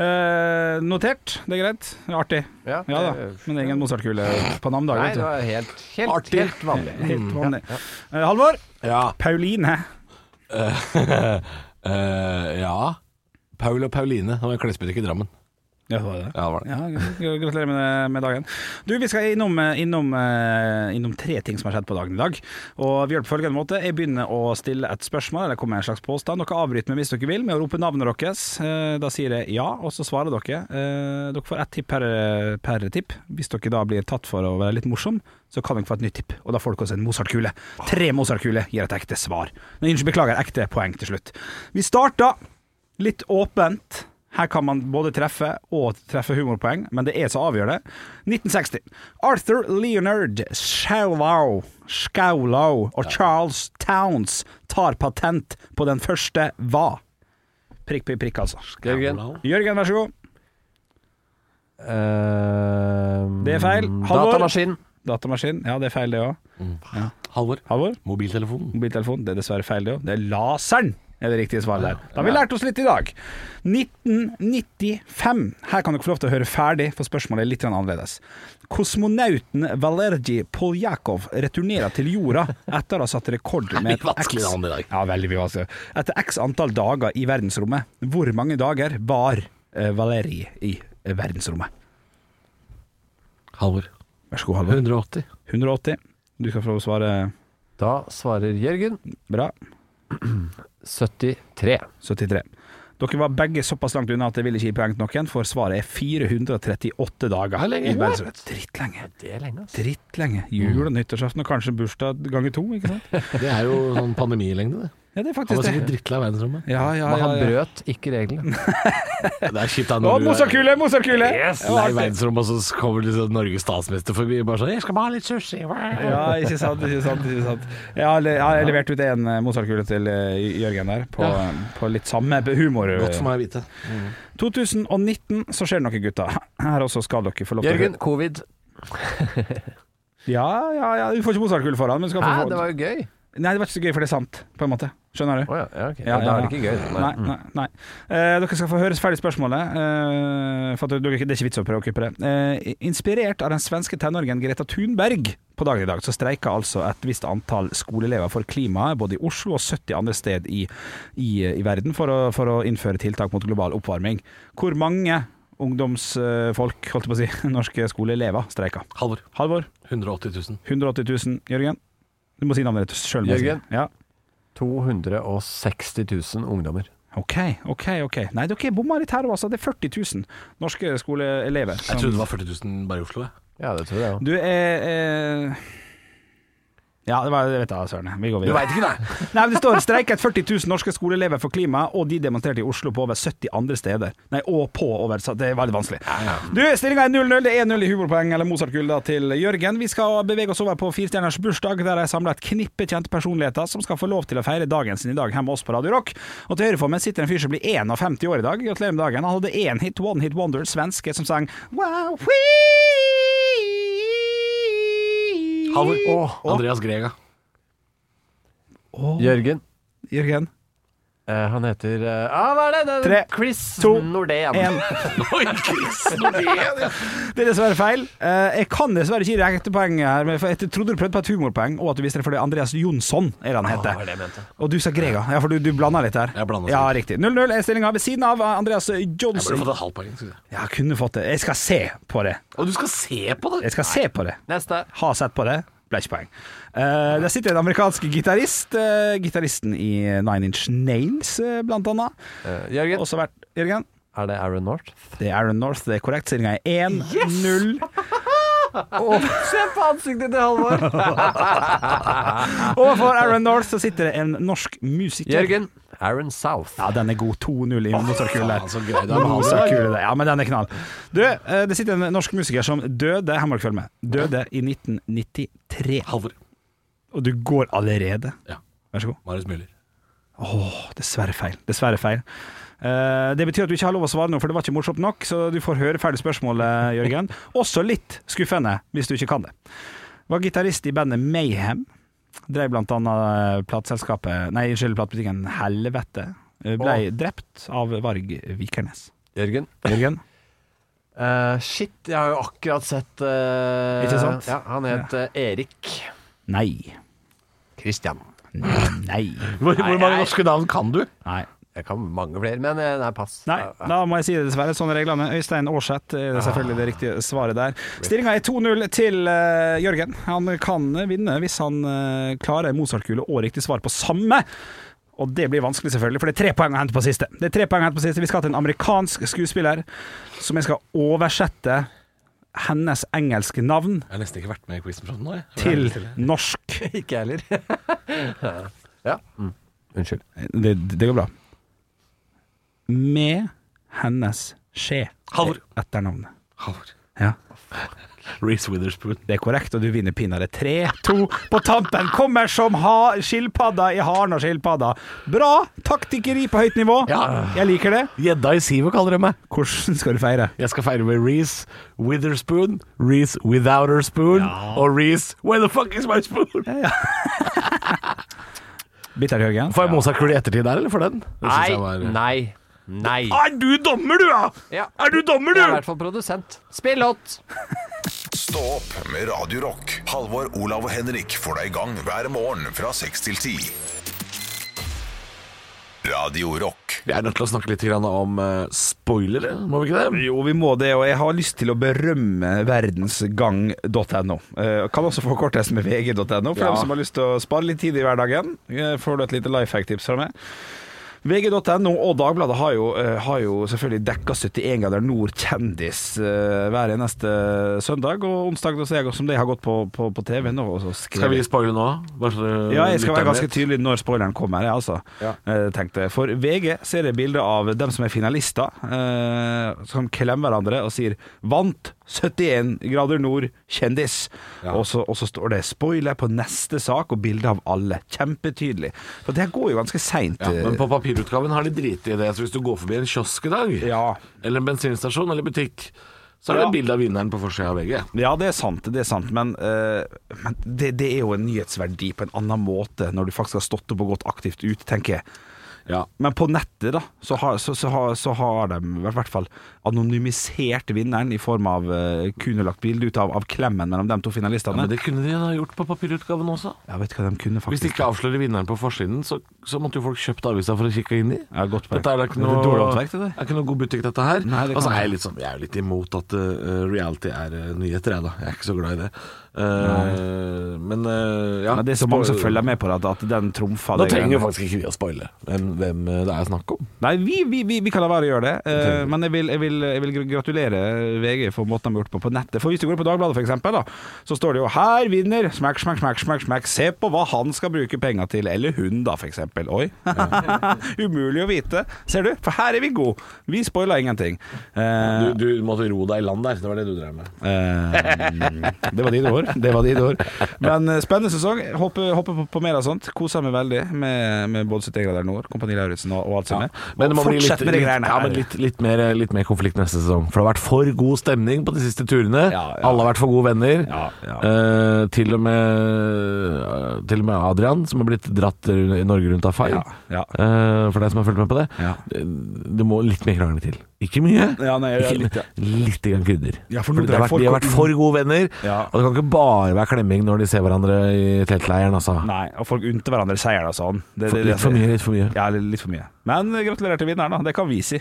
[SPEAKER 3] Eh, notert, det er greit. Artig.
[SPEAKER 5] Ja, Eh,
[SPEAKER 3] Ja da, men det er ingen Mozart-kule på navnedag.
[SPEAKER 5] Nei,
[SPEAKER 3] vet du.
[SPEAKER 5] det var helt, helt, helt vanlig.
[SPEAKER 4] Mm,
[SPEAKER 3] Helt vanlig. Eh, Halvor.
[SPEAKER 4] Ja.
[SPEAKER 3] Pauline.
[SPEAKER 4] Eh, ja. Paul og Pauline. Han var en klesbutikk i Drammen.
[SPEAKER 3] Ja, det var det.
[SPEAKER 4] Ja, det var det.
[SPEAKER 3] Ja, gr- gratulerer med, med dagen. Du, Vi skal innom, eh, innom, eh, innom tre ting som har skjedd på dagen i dag. Og Vi gjør det på følgende måte. Jeg begynner å stille et spørsmål, eller komme med en slags påstand. Dere avbryter meg hvis dere vil, med å rope navnet deres. Eh, Da sier jeg ja, og så svarer dere. Eh, Dere får ett tipp per, per tipp. Hvis dere da blir tatt for å være litt morsom, så kan dere få et nytt tipp. Og da får dere også en Mozart-kule. Tre Mozart-kuler gir et ekte svar. Nei, unnskyld, beklager, ekte poeng til slutt. Vi starter litt åpent. Her kan man både treffe og treffe humorpoeng, men det er så avgjørende. 1960. Arthur Leonard Schaulau, Schaulau og Charles Towns tar patent på den første hva? Prikk, prikk, prikk, altså.
[SPEAKER 5] Jørgen.
[SPEAKER 3] Jørgen, vær så god.
[SPEAKER 5] Ehm,
[SPEAKER 3] Det er feil. Halvor.
[SPEAKER 5] Datamaskin.
[SPEAKER 3] Datamaskin. Ja, det er feil, det òg.
[SPEAKER 4] Halvor.
[SPEAKER 3] Halvor?
[SPEAKER 4] Mobiltelefonen.
[SPEAKER 3] Mobiltelefon. Det er dessverre feil, det òg. Det er laseren er det riktige svaret der. Da har vi lært oss litt i dag. 1995. Her kan dere få lov til å høre ferdig, for spørsmålet er litt grann annerledes. Kosmonauten Valerij Poljakov returnerer til jorda etter å ha satt rekord med
[SPEAKER 4] Mye vanskeligere navn i dag.
[SPEAKER 3] Ja, veldig mye vanskeligere. Etter x antall dager i verdensrommet. Hvor mange dager var eh, Valerij i eh, verdensrommet?
[SPEAKER 4] Halvor.
[SPEAKER 3] Vær så god, Halvor.
[SPEAKER 4] 180.
[SPEAKER 3] 180. Du skal få lov til å svare
[SPEAKER 5] Da svarer Jørgen
[SPEAKER 3] bra.
[SPEAKER 5] 73.
[SPEAKER 3] 73. Dere var begge såpass langt unna at jeg ville ikke gi poeng til noen, for svaret er 438 dager.
[SPEAKER 4] er lenge.
[SPEAKER 3] i verdensrommet. Drittlenge.
[SPEAKER 5] Det er lenge, altså.
[SPEAKER 3] Drittlenge. Jul
[SPEAKER 4] Mm.
[SPEAKER 3] og nyttårsaften og kanskje bursdag ganger to, ikke sant?
[SPEAKER 4] Det er jo sånn pandemilengde, det.
[SPEAKER 3] Ja, det er
[SPEAKER 4] Han
[SPEAKER 3] faktisk
[SPEAKER 4] var sikkert
[SPEAKER 3] det.
[SPEAKER 4] drittlei av verdensrommet.
[SPEAKER 3] Ja, ja,
[SPEAKER 5] Men
[SPEAKER 3] ja.
[SPEAKER 5] han
[SPEAKER 3] ja.
[SPEAKER 5] brøt ikke reglene.
[SPEAKER 4] Det er kjipt
[SPEAKER 3] Å,
[SPEAKER 4] da når du er
[SPEAKER 3] Mozart-kule, Mozart-kule!
[SPEAKER 4] lei verdensrommet, og så kommer liksom Norges statsminister forbi bare sånn 'Jeg skal bare ha litt sushi'.
[SPEAKER 3] Ja, ikke sant, ikke sant. ikke sant Jeg har, le- jeg har levert ut en eh, Mozart-kule til eh, Jørgen der, på, på litt samme humor.
[SPEAKER 4] Godt for meg å vite.
[SPEAKER 3] 2019 så skjer det noe, gutter. Her også skal dere få lov til å
[SPEAKER 5] Jørgen, covid.
[SPEAKER 3] Ja, ja, ja. Du får ikke Mozart-kule foran, men du skal få
[SPEAKER 5] Hæ, det var jo gøy.
[SPEAKER 3] Nei, det var ikke så gøy, for det er sant, på en måte. Skjønner du?
[SPEAKER 5] Å ja, ja, ok.
[SPEAKER 3] Ja,
[SPEAKER 5] Da
[SPEAKER 3] ja,
[SPEAKER 5] er det ikke gøy. Nei.
[SPEAKER 3] Nei, nei, nei. Eh, dere skal få høre ferdig spørsmålet. eh, for at dere, det er ikke vits å prøve å kuppe det. Eh, inspirert av den svenske tenåringen Greta Thunberg på dagen i dag, så streika altså et visst antall skoleelever for klimaet, både i Oslo og 70 andre sted i, i, i verden, for å, for å innføre tiltak mot global oppvarming. Hvor mange ungdomsfolk, holdt jeg på å si, norske skoleelever, streika.
[SPEAKER 4] Halvor.
[SPEAKER 3] Halvor,
[SPEAKER 4] 180 000.
[SPEAKER 3] 180 000. Jørgen? Du må si navnet ditt sjøl.
[SPEAKER 5] Jørgen.
[SPEAKER 3] Ja.
[SPEAKER 5] 260 000 ungdommer.
[SPEAKER 3] OK, OK. ok Nei, dere bomma litt her òg, altså. Det er 40 000 norske skoleelever. som-
[SPEAKER 4] Jeg trodde det var 40 000 bare i Oslo. Jeg.
[SPEAKER 5] Ja, det tror jeg òg.
[SPEAKER 3] Du er eh... Ja, det var, jeg vet da, Søren. Vi går videre.
[SPEAKER 4] ikke, nei!
[SPEAKER 3] Nei, men Det står streiket 40 000 norske skoleelever for klima, og de demonstrerte i Oslo på over 70 andre steder. Nei, og på over så Det er veldig vanskelig. Du, Stillinga er 0-0. Det er 1-0 i humorpoeng, eller Mozart-gull, da, til Jørgen. Vi skal bevege oss over på firestjerners bursdag, der jeg samla et knippe kjente personligheter som skal få lov til å feire dagen sin i dag hjemme med oss på Radio Rock. Og til høyre for meg sitter en fyr som blir 51 år i dag. Gratulerer med dagen. Han hadde én hit, One Hit Wonder, svenske, som sang Wow, wee.
[SPEAKER 4] Halvor.
[SPEAKER 5] Åh.
[SPEAKER 4] Andreas Grega.
[SPEAKER 5] Jørgen.
[SPEAKER 3] Jørgen.
[SPEAKER 5] eh, han heter eh, ah, Hva er det? det? er
[SPEAKER 3] Tre,
[SPEAKER 5] Chris
[SPEAKER 3] to,
[SPEAKER 5] Nordén.
[SPEAKER 3] En. Det er dessverre feil. Eh, Jeg kan dessverre ikke gi deg ekte poeng her, men for jeg trodde du prøvde på et humorpoeng, og at du visste det fordi Andreas Jonsson er det han
[SPEAKER 5] Hva var
[SPEAKER 3] heter.
[SPEAKER 5] det jeg mente?
[SPEAKER 3] Og du sa Grega. Ja, for du, du blanda litt der.
[SPEAKER 4] Jeg blandet
[SPEAKER 3] ja,
[SPEAKER 4] litt.
[SPEAKER 3] riktig. 0-0 er stillinga ved siden av eh, Andreas
[SPEAKER 4] Jeg burde
[SPEAKER 3] Johnson.
[SPEAKER 4] fått et halvt poeng. skulle jeg.
[SPEAKER 3] Ja, kunne fått det. Jeg skal se på det.
[SPEAKER 4] Og du skal se på det!
[SPEAKER 3] Jeg skal se på det.
[SPEAKER 5] Neste.
[SPEAKER 3] Har sett på det. Ble ikke poeng. Eh, der sitter en amerikansk gitarist. eh, gitaristen i Nine Inch Nails, eh, blant annet.
[SPEAKER 5] Eh, Jørgen.
[SPEAKER 3] Også vært Jørgen?
[SPEAKER 5] Er det Aaron North?
[SPEAKER 3] Det er Aaron North, det er korrekt. Stillinga er 1-0.
[SPEAKER 5] Se på ansiktet til Halvor!
[SPEAKER 3] Overfor Aaron North så sitter det en norsk musiker.
[SPEAKER 5] Jørgen. Aaron South.
[SPEAKER 3] Ja, den er god. 2-0 i motorkule der.
[SPEAKER 4] faen, så gøy. Det er med
[SPEAKER 3] Motorkule der. Ja, men den er knall. Du, eh, det sitter en norsk musiker som døde Her må dere følge med. Døde i 1993.
[SPEAKER 4] Halvor.
[SPEAKER 3] Og du går allerede.
[SPEAKER 4] Ja.
[SPEAKER 3] Vær så god.
[SPEAKER 4] Marius Müller.
[SPEAKER 3] Åh, dessverre feil. Dessverre feil. Eh, det betyr at du ikke har lov å svare nå, for det var ikke morsomt nok, så du får høre ferdig spørsmålet, Jørgen. Også litt skuffende, hvis du ikke kan det. Var gitarist i bandet Mayhem. Drev blant annet eh, plateselskapet Nei, unnskyld, platebutikken Helvete. Eh, Ble drept av Varg Vikernes.
[SPEAKER 5] Jørgen.
[SPEAKER 3] Jørgen?
[SPEAKER 5] Eh, shit, jeg har jo akkurat sett eh,
[SPEAKER 3] Ikke sant?
[SPEAKER 5] Ja, han het eh, Erik.
[SPEAKER 3] Nei.
[SPEAKER 5] Christian.
[SPEAKER 3] Nei.
[SPEAKER 4] Hvor,
[SPEAKER 5] Nei,
[SPEAKER 4] hvor mange
[SPEAKER 5] nei.
[SPEAKER 4] norske navn kan du?
[SPEAKER 3] Nei.
[SPEAKER 5] Jeg kan mange flere, men eh, nei, pass.
[SPEAKER 3] Nei,
[SPEAKER 5] Ja,
[SPEAKER 3] da må jeg si det dessverre. Sånn er reglene. Øystein Aarseth er selvfølgelig det riktige svaret der. Stillinga er 2-0 til eh, Jørgen. Han kan vinne hvis han eh, klarer en Mozart-kule og riktig svar på samme. Og det blir vanskelig, selvfølgelig, for det er tre poeng å hente på siste. Det er tre poeng å hente på siste Vi skal til en amerikansk skuespiller som jeg skal oversette hennes engelske navn
[SPEAKER 4] Jeg har nesten ikke vært med i quizen nå. Jeg.
[SPEAKER 3] til norsk.
[SPEAKER 5] Ikke jeg heller. ja. Mm. Unnskyld.
[SPEAKER 3] Det, det går bra. Med hennes skje.
[SPEAKER 4] Halvor.
[SPEAKER 3] Etternavnet.
[SPEAKER 4] Halvor.
[SPEAKER 3] Ja.
[SPEAKER 4] Reece Witherspoon.
[SPEAKER 3] Det er korrekt, og du vinner pinadø 3-2 på tampen. Kommer som ha skilpadda i haren og skilpadda. Bra taktikkeri på høyt nivå.
[SPEAKER 4] Ja.
[SPEAKER 3] Jeg liker det.
[SPEAKER 4] Gjedda i sivet kaller de meg.
[SPEAKER 3] Hvordan skal du feire?
[SPEAKER 4] Jeg skal feire med Reece Witherspoon, Reece Without Her Spoon og Reece Where the fuck is my spoon?
[SPEAKER 3] Bitter Jørgen.
[SPEAKER 4] Får jeg Mozart-kule i ettertid der, eller for den? Det synes
[SPEAKER 5] Nei,
[SPEAKER 4] jeg var-
[SPEAKER 5] nei, nei.
[SPEAKER 4] Er du dommer, du, ja?
[SPEAKER 5] Ja.
[SPEAKER 4] Er du dommer,
[SPEAKER 5] Jeg Ah, er i
[SPEAKER 4] du?
[SPEAKER 5] hvert fall produsent. Spill hot!
[SPEAKER 1] Stå opp med Radio Rock. Halvor, Olav og Henrik får deg i gang hver morgen fra 6 til 10. Radio Rock.
[SPEAKER 4] Vi er nødt til å snakke litt grann om eh, spoilere, må vi ikke det?
[SPEAKER 3] Jo, vi må det, og jeg har lyst til å berømme verdensgang.no. Eh, Kan også få kortest med vg.no, for dem som har lyst til å spare litt tid i hverdagen. eh, Får du et lite lifehack-tips fra meg. VG.no og Dagbladet har jo, eh, har jo selvfølgelig dekka 71 grader nord kjendis eh, hver eneste søndag, og onsdag da ser jeg som det har gått på, på, på TV nå. Og så skrev
[SPEAKER 4] Skal vi
[SPEAKER 3] jeg-
[SPEAKER 4] spoile nå? Bare så det-
[SPEAKER 3] ja, jeg skal være
[SPEAKER 4] lytteren
[SPEAKER 3] ganske
[SPEAKER 4] vet.
[SPEAKER 3] tydelig når spoileren kommer, jeg altså. eh, tenkte jeg. For VG ser jeg bilder av dem som er finalister, eh, som klemmer hverandre og sier 'vant 71 grader nord, kjendis'. Og, så, og så står det 'spoiler på neste sak' og bilde av alle. Kjempetydelig. For det her går jo ganske seint. eh.
[SPEAKER 4] Ja, men på papirutgaven har de driti i det, så hvis du går forbi en kiosk i dag,
[SPEAKER 3] Ja.
[SPEAKER 4] eller en bensinstasjon eller butikk, så er det
[SPEAKER 3] Ja.
[SPEAKER 4] et bilde av vinneren på forsida av VG.
[SPEAKER 3] Ja, det er sant, det er sant, men, eh, men det, det er jo en nyhetsverdi på en annen måte når du faktisk har stått opp og gått aktivt ut, tenker jeg.
[SPEAKER 4] Ja.
[SPEAKER 3] Men på nettet da så har, så, så har, så har de i hvert fall anonymisert vinneren i form av eh, kun lagt bilde ut av, av klemmen mellom de to finalistene.
[SPEAKER 4] Men det kunne de ha gjort på papirutgaven også.
[SPEAKER 3] Jeg vet hva de kunne
[SPEAKER 4] Hvis de
[SPEAKER 3] faktisk
[SPEAKER 4] ikke avslører vinneren på forsiden, så, så måtte jo folk kjøpt avisa for å kikke inn i.
[SPEAKER 3] Ja, godt poeng.
[SPEAKER 4] Dette er da ikke
[SPEAKER 3] Det er
[SPEAKER 4] noe,
[SPEAKER 3] dårlig håndverk, det der.
[SPEAKER 4] er ikke noe god butikk, dette her.
[SPEAKER 3] Nei, det
[SPEAKER 4] Og så
[SPEAKER 3] kan
[SPEAKER 4] er
[SPEAKER 3] være.
[SPEAKER 4] jeg litt sånn Jeg er jo litt imot at eh, reality er eh, nyheter, jeg, da. Jeg er ikke så glad i det. Eh, men eh, ja
[SPEAKER 3] Men det er så mange som følger med på det, at- at den trumfer
[SPEAKER 4] Da
[SPEAKER 3] det
[SPEAKER 4] trenger jo
[SPEAKER 3] greiene.
[SPEAKER 4] faktisk ikke vi å spoile hvem, hvem eh, det er snakk om.
[SPEAKER 3] Nei, vi, vi, vi, vi kan la være å gjøre det, eh, men jeg vil, jeg, vil, jeg vil gratulere VG for måten de har gjort det på på nettet. For Hvis du går på Dagbladet, for eksempel, da, så står det jo 'Her vinner smack, smack, smack, smack, smack'. Se på hva han skal bruke penga til. Eller hun, da, for eksempel. Oi. Umulig å vite. Ser du, for her er vi gode. Vi spoiler ingenting. Eh,
[SPEAKER 4] Du, du måtte ro deg i land der. Det var det du drev med.
[SPEAKER 3] Eh, det var dine ord. Det var dine ord. Men eh, spennende sesong. Håper, håper på, på mer av sånt. Koser meg veldig med, med både 71 grader nord, Kompani Lauritzen og, og alt som er.
[SPEAKER 4] Men det må
[SPEAKER 3] Og
[SPEAKER 4] bli litt,
[SPEAKER 3] fortsett med de
[SPEAKER 4] litt,
[SPEAKER 3] greiene
[SPEAKER 4] ja,
[SPEAKER 3] her.
[SPEAKER 4] men litt, litt, mer, litt mer konflikt neste sesong. For det har vært for god stemning på de siste turene.
[SPEAKER 3] Ja, ja.
[SPEAKER 4] Alle har vært for gode venner.
[SPEAKER 3] Ja, ja.
[SPEAKER 4] Eh, til, og med, eh, til og med Adrian, som har blitt dratt ru- i Norge rundt av feil.
[SPEAKER 3] Ja, ja.
[SPEAKER 4] Eh, for deg som har fulgt med på det.
[SPEAKER 3] Ja.
[SPEAKER 4] Eh, Det må litt mer krangling til. Ikke mye.
[SPEAKER 3] Ja, nei, ja,
[SPEAKER 4] Ikke-
[SPEAKER 3] litt, ja.
[SPEAKER 4] litt grann krydder.
[SPEAKER 3] Ja, for
[SPEAKER 4] for
[SPEAKER 3] nå
[SPEAKER 4] det
[SPEAKER 3] dreier
[SPEAKER 4] har vært, de har
[SPEAKER 3] folk-
[SPEAKER 4] vært for gode venner.
[SPEAKER 3] Ja.
[SPEAKER 4] Og det kan ikke bare være klemming når de ser hverandre i teltleiren, altså.
[SPEAKER 3] Nei, og folk unte hverandre seieren og sånn. Det- det-
[SPEAKER 4] Litt for mye, litt for mye.
[SPEAKER 3] Ja, li- litt for mye. Men eh, gratulerer til vinneren, da. Det kan vi si.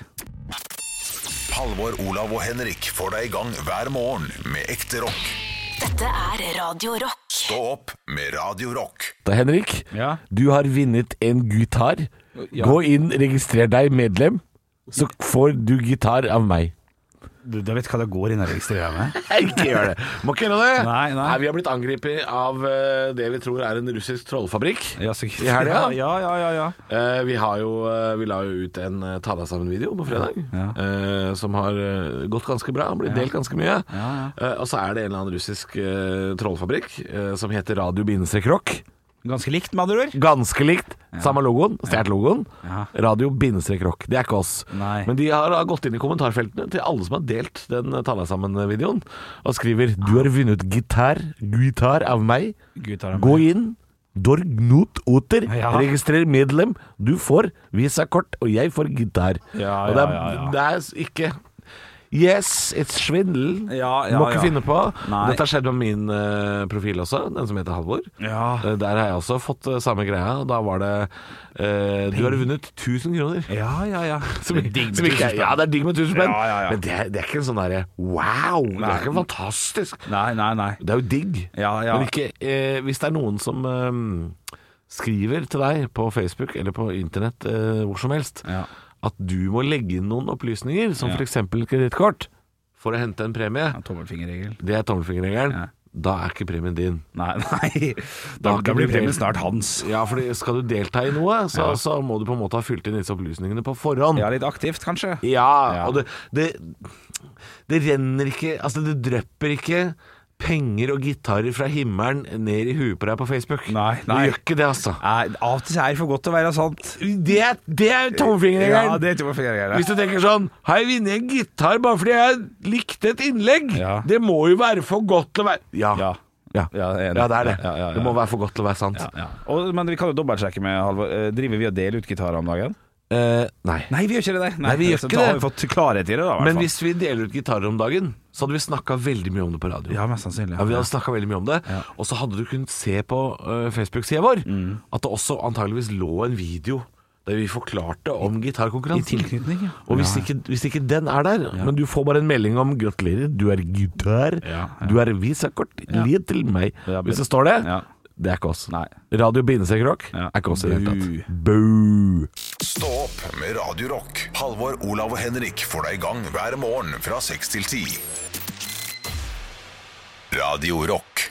[SPEAKER 1] Halvor, Olav og Henrik får deg i gang hver morgen med ekte rock.
[SPEAKER 2] Dette er Radio Rock.
[SPEAKER 1] Stå opp med Radio Rock.
[SPEAKER 4] Da, Henrik,
[SPEAKER 3] Ja.
[SPEAKER 4] du har vunnet en gitar.
[SPEAKER 3] Ja.
[SPEAKER 4] Gå inn, registrer deg medlem, så får du gitar av meg.
[SPEAKER 3] Du, vet hva det går inn og registrerer med?
[SPEAKER 4] Ikke gjør det! Må ikke gjøre det!
[SPEAKER 3] Nei, nei.
[SPEAKER 4] Vi har blitt angrepet av eh, det vi tror er en russisk trollfabrikk.
[SPEAKER 3] Ja, så,
[SPEAKER 4] I helga?
[SPEAKER 3] Ja, ja, ja. ja.
[SPEAKER 4] Eh, vi, har jo, eh, vi la jo ut en eh, ta deg sammen-video på fredag, eh, som har eh, gått ganske bra. Blitt delt ganske mye. Eh, og så er det en eller annen russisk eh, trollfabrikk eh, som heter Radio-rock.
[SPEAKER 3] Ganske likt, med andre ord.
[SPEAKER 4] Ganske likt. Samme logoen. Stjålet logoen.
[SPEAKER 3] Ja.
[SPEAKER 4] Radio bindestrekk rock. Det er ikke oss.
[SPEAKER 3] Nei.
[SPEAKER 4] Men de har da gått inn i kommentarfeltene til alle som har delt den Ta deg sammen-videoen, og skriver 'Du har vunnet gitar, gitar av meg'.
[SPEAKER 3] Gitar av
[SPEAKER 4] Gå inn. Dorgnot Oter.
[SPEAKER 3] Ja.
[SPEAKER 4] Registrer medlem. Du får visakort, og jeg får gitar.
[SPEAKER 3] Ja,
[SPEAKER 4] og det
[SPEAKER 3] ja,
[SPEAKER 4] er,
[SPEAKER 3] ja, ja.
[SPEAKER 4] det er s- ikke Yes, it's svindel.
[SPEAKER 3] Ja, ja,
[SPEAKER 4] Må ikke
[SPEAKER 3] ja.
[SPEAKER 4] finne på.
[SPEAKER 3] Nei.
[SPEAKER 4] Dette har skjedd med min eh, profil også, den som heter Halvor.
[SPEAKER 3] Ja.
[SPEAKER 4] Eh, Der har jeg også fått eh, samme greia. Da var det eh, Du har vunnet 1000 kroner.
[SPEAKER 3] Ja, ja, ja.
[SPEAKER 4] Som, som ikke,
[SPEAKER 3] 1000
[SPEAKER 4] er-
[SPEAKER 3] spenn.
[SPEAKER 4] ja, det er digg med 1000 spenn,
[SPEAKER 3] Ja, ja, ja.
[SPEAKER 4] men det, er- det er ikke en sånn derre wow! Det er ikke fantastisk.
[SPEAKER 3] Nei, nei, nei.
[SPEAKER 4] Det er jo digg.
[SPEAKER 3] Ja, ja.
[SPEAKER 4] Men ikke, eh, hvis det er noen som eh, skriver til deg på Facebook eller på internett eh, hvor som helst
[SPEAKER 3] Ja.
[SPEAKER 4] at du må legge inn noen opplysninger, som
[SPEAKER 3] Ja.
[SPEAKER 4] for f.eks. kredittkort, for å hente en premie,
[SPEAKER 3] Ja, Tommelfingerregel.
[SPEAKER 4] det er tommelfingerregelen.
[SPEAKER 3] Ja.
[SPEAKER 4] Da er ikke premien din.
[SPEAKER 3] Nei, nei. Da,
[SPEAKER 4] Da
[SPEAKER 3] da blir
[SPEAKER 4] blir det-
[SPEAKER 3] premien snart hans.
[SPEAKER 4] Ja, fordi skal du delta i noe, så, så må du på en måte ha fylt inn disse opplysningene på forhånd.
[SPEAKER 3] Ja, litt aktivt, kanskje.
[SPEAKER 4] Ja,
[SPEAKER 3] Ja.
[SPEAKER 4] og det, det Det renner ikke Altså, det drøpper ikke penger og gitarer fra himmelen ned i huet på deg på Facebook.
[SPEAKER 3] Nei,
[SPEAKER 4] Det
[SPEAKER 3] nei.
[SPEAKER 4] gjør ikke det, altså.
[SPEAKER 3] Nei, av og til er det for godt til å være sant.
[SPEAKER 4] Det er, det er tommelfingerregelen.
[SPEAKER 3] Ja, det er tommelfingerregelen.
[SPEAKER 4] Hvis du tenker sånn Har jeg vunnet en gitar bare fordi jeg likte et innlegg?
[SPEAKER 3] Ja.
[SPEAKER 4] Det må jo være for godt til å være Ja.
[SPEAKER 3] Ja.
[SPEAKER 4] Ja.
[SPEAKER 3] Ja, jeg er enig.
[SPEAKER 4] Ja, det er det.
[SPEAKER 3] Ja, ja, ja, ja.
[SPEAKER 4] Det må være for godt til å være sant.
[SPEAKER 3] Ja, ja. Og, men vi kan jo dobbeltsjekke med Halvor. Eh, Driver vi og deler ut gitarer om dagen?
[SPEAKER 4] Eh, nei.
[SPEAKER 3] Nei, vi gjør ikke det. Nei,
[SPEAKER 4] Nei, vi gjør
[SPEAKER 3] så
[SPEAKER 4] ikke
[SPEAKER 3] da har
[SPEAKER 4] det.
[SPEAKER 3] vi fått klarhet i det, da. i hvert
[SPEAKER 4] Men
[SPEAKER 3] fall.
[SPEAKER 4] hvis vi deler ut gitarer om dagen, så hadde vi snakka veldig mye om det på radio.
[SPEAKER 3] Ja, mest sannsynlig.
[SPEAKER 4] Ja, Vi hadde snakka veldig mye om det. Og så hadde du kunnet se på eh, Facebook-sida vår
[SPEAKER 3] Mm.
[SPEAKER 4] at det også antageligvis lå en video der vi forklarte om gitarkonkurransen.
[SPEAKER 3] i tilknytning, ja.
[SPEAKER 4] Og hvis, Ikke, hvis ikke den er der, men du får bare en melding om 'gratulerer, du er gitar',
[SPEAKER 3] Ja, ja.
[SPEAKER 4] du er visakort, li til meg.
[SPEAKER 3] Ja,
[SPEAKER 4] Hvis det står det,
[SPEAKER 3] Ja.
[SPEAKER 4] det er ikke oss.
[SPEAKER 3] Nei.
[SPEAKER 4] Radio Bindesekk-rock
[SPEAKER 3] Ja.
[SPEAKER 4] er ikke oss i det hele tatt. Boo!
[SPEAKER 1] Stå opp med Radio Rock. Halvor, Olav og Henrik får deg i gang hver morgen fra 6 til 10. Radio Rock.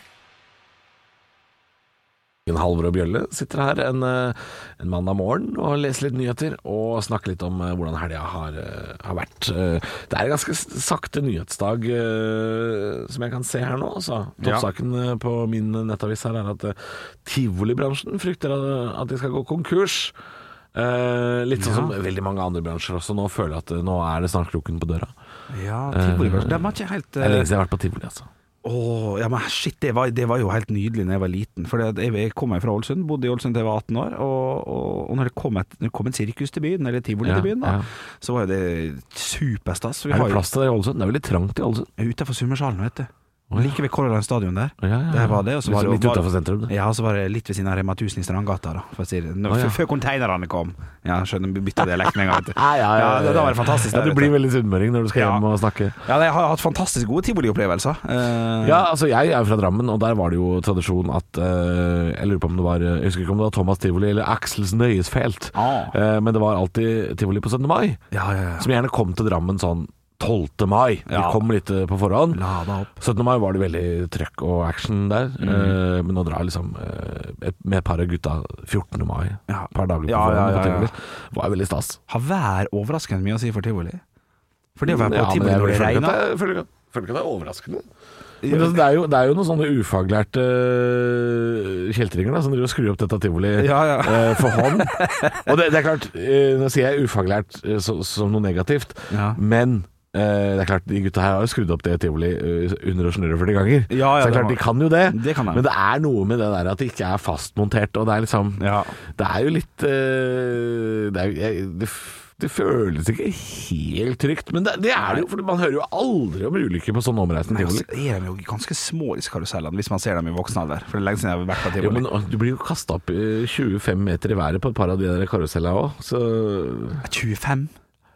[SPEAKER 4] Halvor og Bjølle sitter her en, eh, en mandag morgen og leser litt nyheter og snakker litt om eh, hvordan helga har, eh, har vært. Eh, Det er en ganske s- sakte nyhetsdag eh, som jeg kan se her nå. Altså. Toppsaken eh, på min nettavis her er at eh, tivolibransjen frykter at at de skal gå konkurs. Eh, litt sånn som veldig mange andre bransjer også nå føler at eh, nå er det snart kroken på døra.
[SPEAKER 3] ja Tivoli, kanskje. De har ikke helt
[SPEAKER 4] Det er
[SPEAKER 3] eh,
[SPEAKER 4] lenge siden jeg har vært på tivoli, altså.
[SPEAKER 3] Åh, ja, men shit, det var, det var jo helt nydelig da jeg var liten. For det- jeg, jeg kom jo fra Ålesund, bodde i Ålesund til jeg var 18 år. Og, og, og når, det kom et, når det kom et sirkus til byen, eller tivoli
[SPEAKER 4] Ja,
[SPEAKER 3] til byen, da,
[SPEAKER 4] ja.
[SPEAKER 3] så var jo det superstas. Vi
[SPEAKER 4] Er
[SPEAKER 3] har
[SPEAKER 4] det
[SPEAKER 3] jo
[SPEAKER 4] plass til det i Ålesund? Det er veldig trangt i Ålesund.
[SPEAKER 3] utafor Summersalen, vet du. Like ved Color Line Stadion der.
[SPEAKER 4] Ja, ja, ja.
[SPEAKER 3] Der var det, og så var det
[SPEAKER 4] Liksom
[SPEAKER 3] jo-
[SPEAKER 4] litt utenfor sentrum, det.
[SPEAKER 3] Ja, og så var det litt ved siden av Rema 1000 i Strandgata, da, for å si det. Nå,
[SPEAKER 4] ja.
[SPEAKER 3] Før konteinerne kom. Ja, skjønner, vi bytta dialekt med en gang. vet du.
[SPEAKER 4] Ja, ja, ja, ja.
[SPEAKER 3] det, da var det fantastisk.
[SPEAKER 4] Ja,
[SPEAKER 3] der,
[SPEAKER 4] du
[SPEAKER 3] vet
[SPEAKER 4] blir veldig sunnmøring når du skal
[SPEAKER 3] Ja.
[SPEAKER 4] hjem og snakke.
[SPEAKER 3] Ja, jeg har hatt fantastisk gode tivoliopplevelser. Eh,
[SPEAKER 4] Ja, altså jeg er jo fra Drammen, og der var det jo tradisjon at eh, Jeg lurer på om det var Jeg husker ikke om det var Thomas Tivoli eller Axels Nøyesfelt,
[SPEAKER 3] Ah.
[SPEAKER 4] Eh, men det var alltid tivoli på 17. mai.
[SPEAKER 3] ja, ja, ja.
[SPEAKER 4] Som gjerne kom til Drammen sånn 12. mai. De
[SPEAKER 3] Ja.
[SPEAKER 4] kom litt eh, på forhånd.
[SPEAKER 3] Lada opp.
[SPEAKER 4] 17. mai var det veldig trøkk og action der.
[SPEAKER 3] Mm.
[SPEAKER 4] eh, men nå drar liksom eh, et- med et par av gutta 14. mai, et
[SPEAKER 3] Ja.
[SPEAKER 4] par dager på
[SPEAKER 3] Ja,
[SPEAKER 4] forhånd.
[SPEAKER 3] ja, ja,
[SPEAKER 4] på
[SPEAKER 3] ja.
[SPEAKER 4] Tivoli. Det var veldig stas.
[SPEAKER 3] Har vær overraskende mye å si for tivoli. For det å være på
[SPEAKER 4] Ja, men
[SPEAKER 3] tivoli
[SPEAKER 4] jeg
[SPEAKER 3] når det
[SPEAKER 4] føler ikke
[SPEAKER 3] regner
[SPEAKER 4] at det- jeg føler ikke at- jeg føler ikke at det er overraskende. Men altså, det, er jo, det er jo noen sånne ufaglærte øh, kjeltringer da, som driver og skrur opp dette tivoli
[SPEAKER 3] Ja, ja.
[SPEAKER 4] øh, for hånd. Og det, det er klart, øh, nå sier jeg ufaglært øh, så, som noe negativt,
[SPEAKER 3] Ja.
[SPEAKER 4] men øh, det er klart, de gutta her har jo skrudd opp det tivoli øh, under og snurre 40 ganger.
[SPEAKER 3] Ja, ja,
[SPEAKER 4] så det er
[SPEAKER 3] det
[SPEAKER 4] klart,
[SPEAKER 3] har-
[SPEAKER 4] de kan jo det,
[SPEAKER 3] Det kan de.
[SPEAKER 4] men det er noe med det der at det ikke er fastmontert, og det er liksom
[SPEAKER 3] Ja.
[SPEAKER 4] Det er jo litt øh, det, er, jo- jeg, det, f- det føles ikke helt trygt, men det, det er det jo, for man hører jo aldri om ulykker på sånne omreisende
[SPEAKER 3] Nei,
[SPEAKER 4] tivoli.
[SPEAKER 3] altså, er de jo ganske små disse karusellene, hvis man ser dem i voksen alder. For det er lenge siden jeg har vært på
[SPEAKER 4] Jo,
[SPEAKER 3] tivoli.
[SPEAKER 4] men Du blir jo kasta opp eh, 25 meter i været på et par av de der karusellene òg, så
[SPEAKER 3] 25,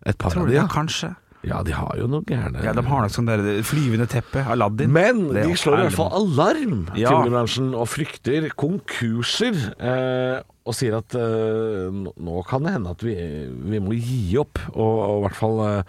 [SPEAKER 4] Et par
[SPEAKER 3] tror
[SPEAKER 4] av
[SPEAKER 3] du?
[SPEAKER 4] de, ja.
[SPEAKER 3] Ja, kanskje.
[SPEAKER 4] Ja, de har jo noe gærne
[SPEAKER 3] Ja, De har nok sånn der flyvende teppe, Aladdin.
[SPEAKER 4] Men
[SPEAKER 3] Det er
[SPEAKER 4] de
[SPEAKER 3] jo
[SPEAKER 4] slår i hvert
[SPEAKER 3] feil.
[SPEAKER 4] fall alarm,
[SPEAKER 3] Ja.
[SPEAKER 4] tivolibransjen, og frykter konkurser. Eh, og sier at eh, nå- nå kan det hende at vi, vi må gi opp, og, og i hvert fall eh,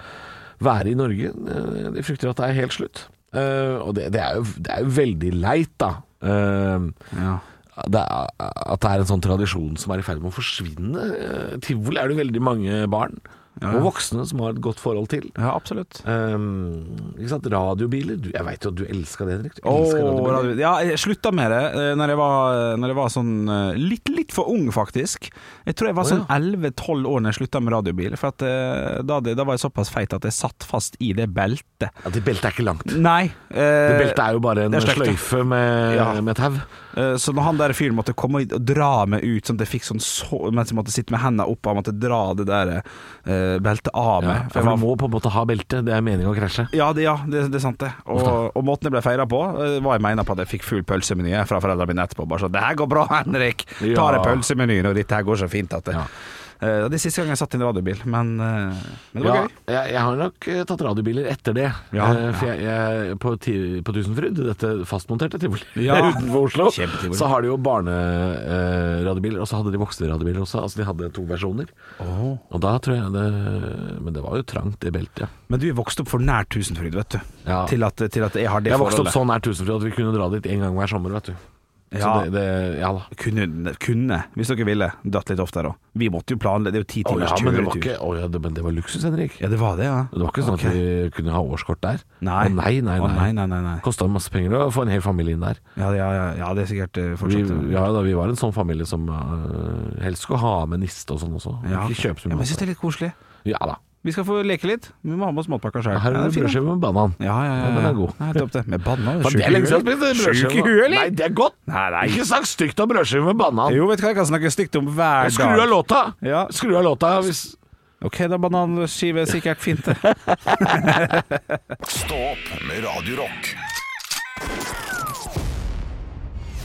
[SPEAKER 4] være i Norge. Eh, de frykter at det er helt slutt. Eh, og det, det, er jo, det er jo veldig leit, da. Eh,
[SPEAKER 3] Ja.
[SPEAKER 4] det er, at det er en sånn tradisjon som er i ferd med å forsvinne. Eh, Tivoli er det veldig mange barn og voksne som har et godt forhold til.
[SPEAKER 3] ja, absolutt.
[SPEAKER 4] Um, ikke sant? Radiobiler. Du, jeg veit jo at du elska det, Henrik. Du
[SPEAKER 3] Åh,
[SPEAKER 4] elsker radiobiler.
[SPEAKER 3] radio- ja, jeg slutta med det eh, når jeg var, når jeg var sånn eh, litt, litt for ung, faktisk. Jeg tror jeg var
[SPEAKER 4] Å,
[SPEAKER 3] sånn
[SPEAKER 4] ja.
[SPEAKER 3] 11-12 år når jeg slutta med radiobil. For at, eh, da, hadde- da var jeg såpass feit at jeg satt fast i det beltet.
[SPEAKER 4] Ja, det beltet er ikke langt.
[SPEAKER 3] Nei. eh,
[SPEAKER 4] Det beltet er jo bare en
[SPEAKER 3] det er slekt, ja.
[SPEAKER 4] sløyfe med,
[SPEAKER 3] Ja.
[SPEAKER 4] med tau.
[SPEAKER 3] eh, så når han der fyren måtte komme og dra meg ut sånn at jeg fikk sånn så, mens jeg måtte sitte med hendene opp og han måtte dra det der eh, beltet av meg
[SPEAKER 4] Ja,
[SPEAKER 3] For jeg
[SPEAKER 4] for
[SPEAKER 3] var
[SPEAKER 4] du må på en måte ha belte. Det er meningen å krasje.
[SPEAKER 3] Ja, det, ja, det, det er sant det. Og, og måten jeg ble feira på, eh, var jeg mener på at jeg fikk full pølsemeny fra foreldrene mine etterpå. Bare sånn 'Det her går bra, Henrik! Ta
[SPEAKER 4] Ja.
[SPEAKER 3] deg pølsemenyen, og dette her går så fint at det
[SPEAKER 4] Ja.
[SPEAKER 3] Eh, Det er siste gang jeg satt i en radiobil, men, eh, men det var
[SPEAKER 4] Ja,
[SPEAKER 3] gøy.
[SPEAKER 4] jeg, jeg har nok eh, tatt radiobiler etter det.
[SPEAKER 3] Ja,
[SPEAKER 4] Eh, for jeg, jeg, på, ti, på Tusenfryd, dette fastmonterte tivoli
[SPEAKER 3] Ja.
[SPEAKER 4] utenfor Oslo,
[SPEAKER 3] Kjempetivoli.
[SPEAKER 4] så har de jo barneradiobiler, eh, radiobiler, og så hadde de voksne radiobiler også. Altså de hadde to versjoner. Og da tror jeg det Men det var jo trangt, det beltet. ja.
[SPEAKER 3] Men du er vokst opp for nær Tusenfryd, vet du.
[SPEAKER 4] Ja.
[SPEAKER 3] Til, at, til at jeg har det
[SPEAKER 4] Jeg vokste opp
[SPEAKER 3] forholdet.
[SPEAKER 4] så nær Tusenfryd at vi kunne dra dit en gang hver sommer, vet du. Så
[SPEAKER 3] Ja.
[SPEAKER 4] det, det, ja da.
[SPEAKER 3] Kunne, kunne, hvis dere ville, dratt litt oftere òg. Vi måtte jo planlegge, det er jo ti
[SPEAKER 4] Å
[SPEAKER 3] timers
[SPEAKER 4] ja, men det var
[SPEAKER 3] kjøretur.
[SPEAKER 4] ikke, å ja, det, men det var luksus, Henrik.
[SPEAKER 3] Ja, det var det, ja.
[SPEAKER 4] Det var ikke sånn
[SPEAKER 3] Ok.
[SPEAKER 4] at vi kunne ha årskort der.
[SPEAKER 3] Nei.
[SPEAKER 4] Å, nei, nei,
[SPEAKER 3] Å,
[SPEAKER 4] nei.
[SPEAKER 3] nei, nei, nei.
[SPEAKER 4] Kosta masse penger å få en hel familie inn der.
[SPEAKER 3] Ja, ja, ja, ja, det er sikkert eh,
[SPEAKER 4] Vi,
[SPEAKER 3] fortsatt
[SPEAKER 4] ja, da, vi var en sånn familie som øh, helst skulle ha med niste og sånn også.
[SPEAKER 3] Ja,
[SPEAKER 4] Ikke kjøpe så
[SPEAKER 3] ja,
[SPEAKER 4] mye.
[SPEAKER 3] men jeg syns
[SPEAKER 4] mat.
[SPEAKER 3] det er litt koselig.
[SPEAKER 4] Ja da.
[SPEAKER 3] Vi skal få leke litt. Vi må ha med oss matpakka sjøl.
[SPEAKER 4] Her er det brødskive med banan.
[SPEAKER 3] Ja, ja, ja.
[SPEAKER 4] Ja, den er god.
[SPEAKER 3] Nei, topp det. Med banan.
[SPEAKER 4] Faen, det er lenge siden jeg spiste brødskive
[SPEAKER 3] Sjuk i
[SPEAKER 4] med-
[SPEAKER 3] huet, eller?
[SPEAKER 4] Nei, det er godt!
[SPEAKER 3] Nei, nei.
[SPEAKER 4] Ikke snakk stygt om brødskive med banan.
[SPEAKER 3] Jo, vet du hva jeg kan snakke stygt om hver dag.
[SPEAKER 4] Skru av låta!
[SPEAKER 3] Ja.
[SPEAKER 4] Skru av låta hvis
[SPEAKER 3] Ok, da bananskive er sikkert fint, det.
[SPEAKER 1] Stå opp med Radio Rock.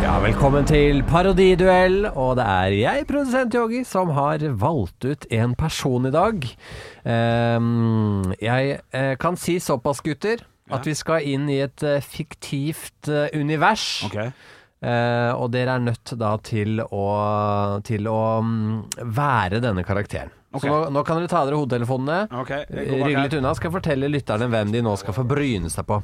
[SPEAKER 5] Ja, velkommen til Parodiduell, og det er jeg, produsent Yogi, som har valgt ut en person i dag. Ehm, jeg eh, kan si såpass, gutter, at vi skal inn i et eh, fiktivt eh, univers. Eh, og dere er nødt da til å, til å mm, være denne karakteren.
[SPEAKER 3] Ok.
[SPEAKER 5] Så nå, nå kan dere ta dere hodetelefonene.
[SPEAKER 3] Ok, jeg går bak
[SPEAKER 5] Rygg
[SPEAKER 3] her.
[SPEAKER 5] litt unna. Skal jeg fortelle lytterne hvem de nå skal få bryne seg på.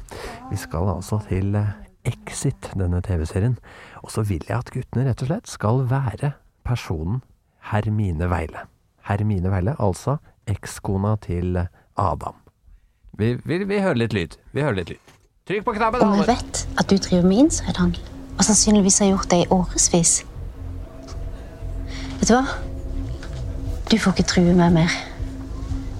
[SPEAKER 5] Vi skal altså til eh, Exit, denne TV-serien. Og så vil jeg at guttene rett og slett skal være personen Hermine Veile. Hermine Veile, altså ekskona til Adam. Vi, vi, vi hører litt lyd. Vi hører litt lyd. Trykk på knappen,
[SPEAKER 9] Om jeg
[SPEAKER 5] Halvor.
[SPEAKER 9] vet at du driver med insidehandel, og sannsynligvis har gjort det i årevis Vet du hva? Du får ikke true meg mer.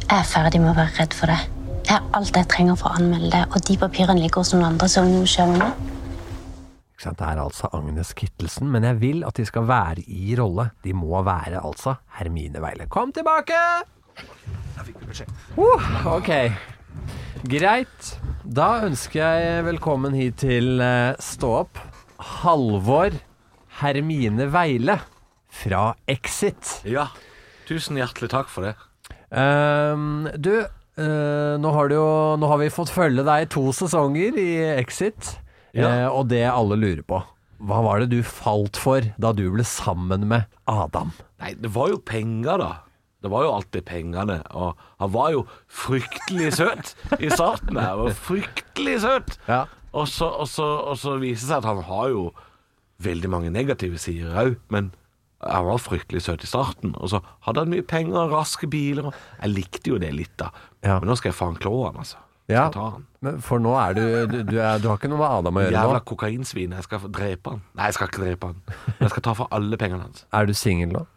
[SPEAKER 9] Jeg er ferdig med å være redd for deg. Jeg har alt jeg trenger for å anmelde det, og de papirene ligger hos noen andre. Så om noe skjer med meg,
[SPEAKER 5] Ikke sant? Det er altså Agnes Kittelsen, men jeg vil at de skal være i rolle. De må være altså Hermine Weile. Kom tilbake! Uh, ok. Greit. Da ønsker jeg velkommen hit til eh, Stå opp. Halvor Hermine Weile fra Exit.
[SPEAKER 4] Ja, tusen hjertelig takk for det.
[SPEAKER 5] Ehm, du, eh, nå, har du jo, nå har vi fått følge deg i to sesonger i Exit. Eh, og det alle lurer på, hva var det du falt for da du ble sammen med Adam?
[SPEAKER 4] Nei, det var jo penger, da. Det var jo alltid pengene. Og han var jo fryktelig søt i starten. her, var Fryktelig søt.
[SPEAKER 5] Ja.
[SPEAKER 4] Og, så, og, så, og så viser det seg at han har jo veldig mange negative sider òg, men han var fryktelig søt i starten. Og så hadde han mye penger og raske biler. Og jeg likte jo det litt, da.
[SPEAKER 5] Ja.
[SPEAKER 4] Men nå skal jeg faen klå han, altså. Jeg
[SPEAKER 5] Ja.
[SPEAKER 4] Skal ta han.
[SPEAKER 5] Men For nå er du du, du, er, du har ikke noe med Adam å gjøre
[SPEAKER 4] Jævla
[SPEAKER 5] nå?
[SPEAKER 4] kokainsvin. Jeg skal få drepe han. Nei, jeg skal ikke drepe han. Men Jeg skal ta for alle pengene hans.
[SPEAKER 5] Er du singel nå?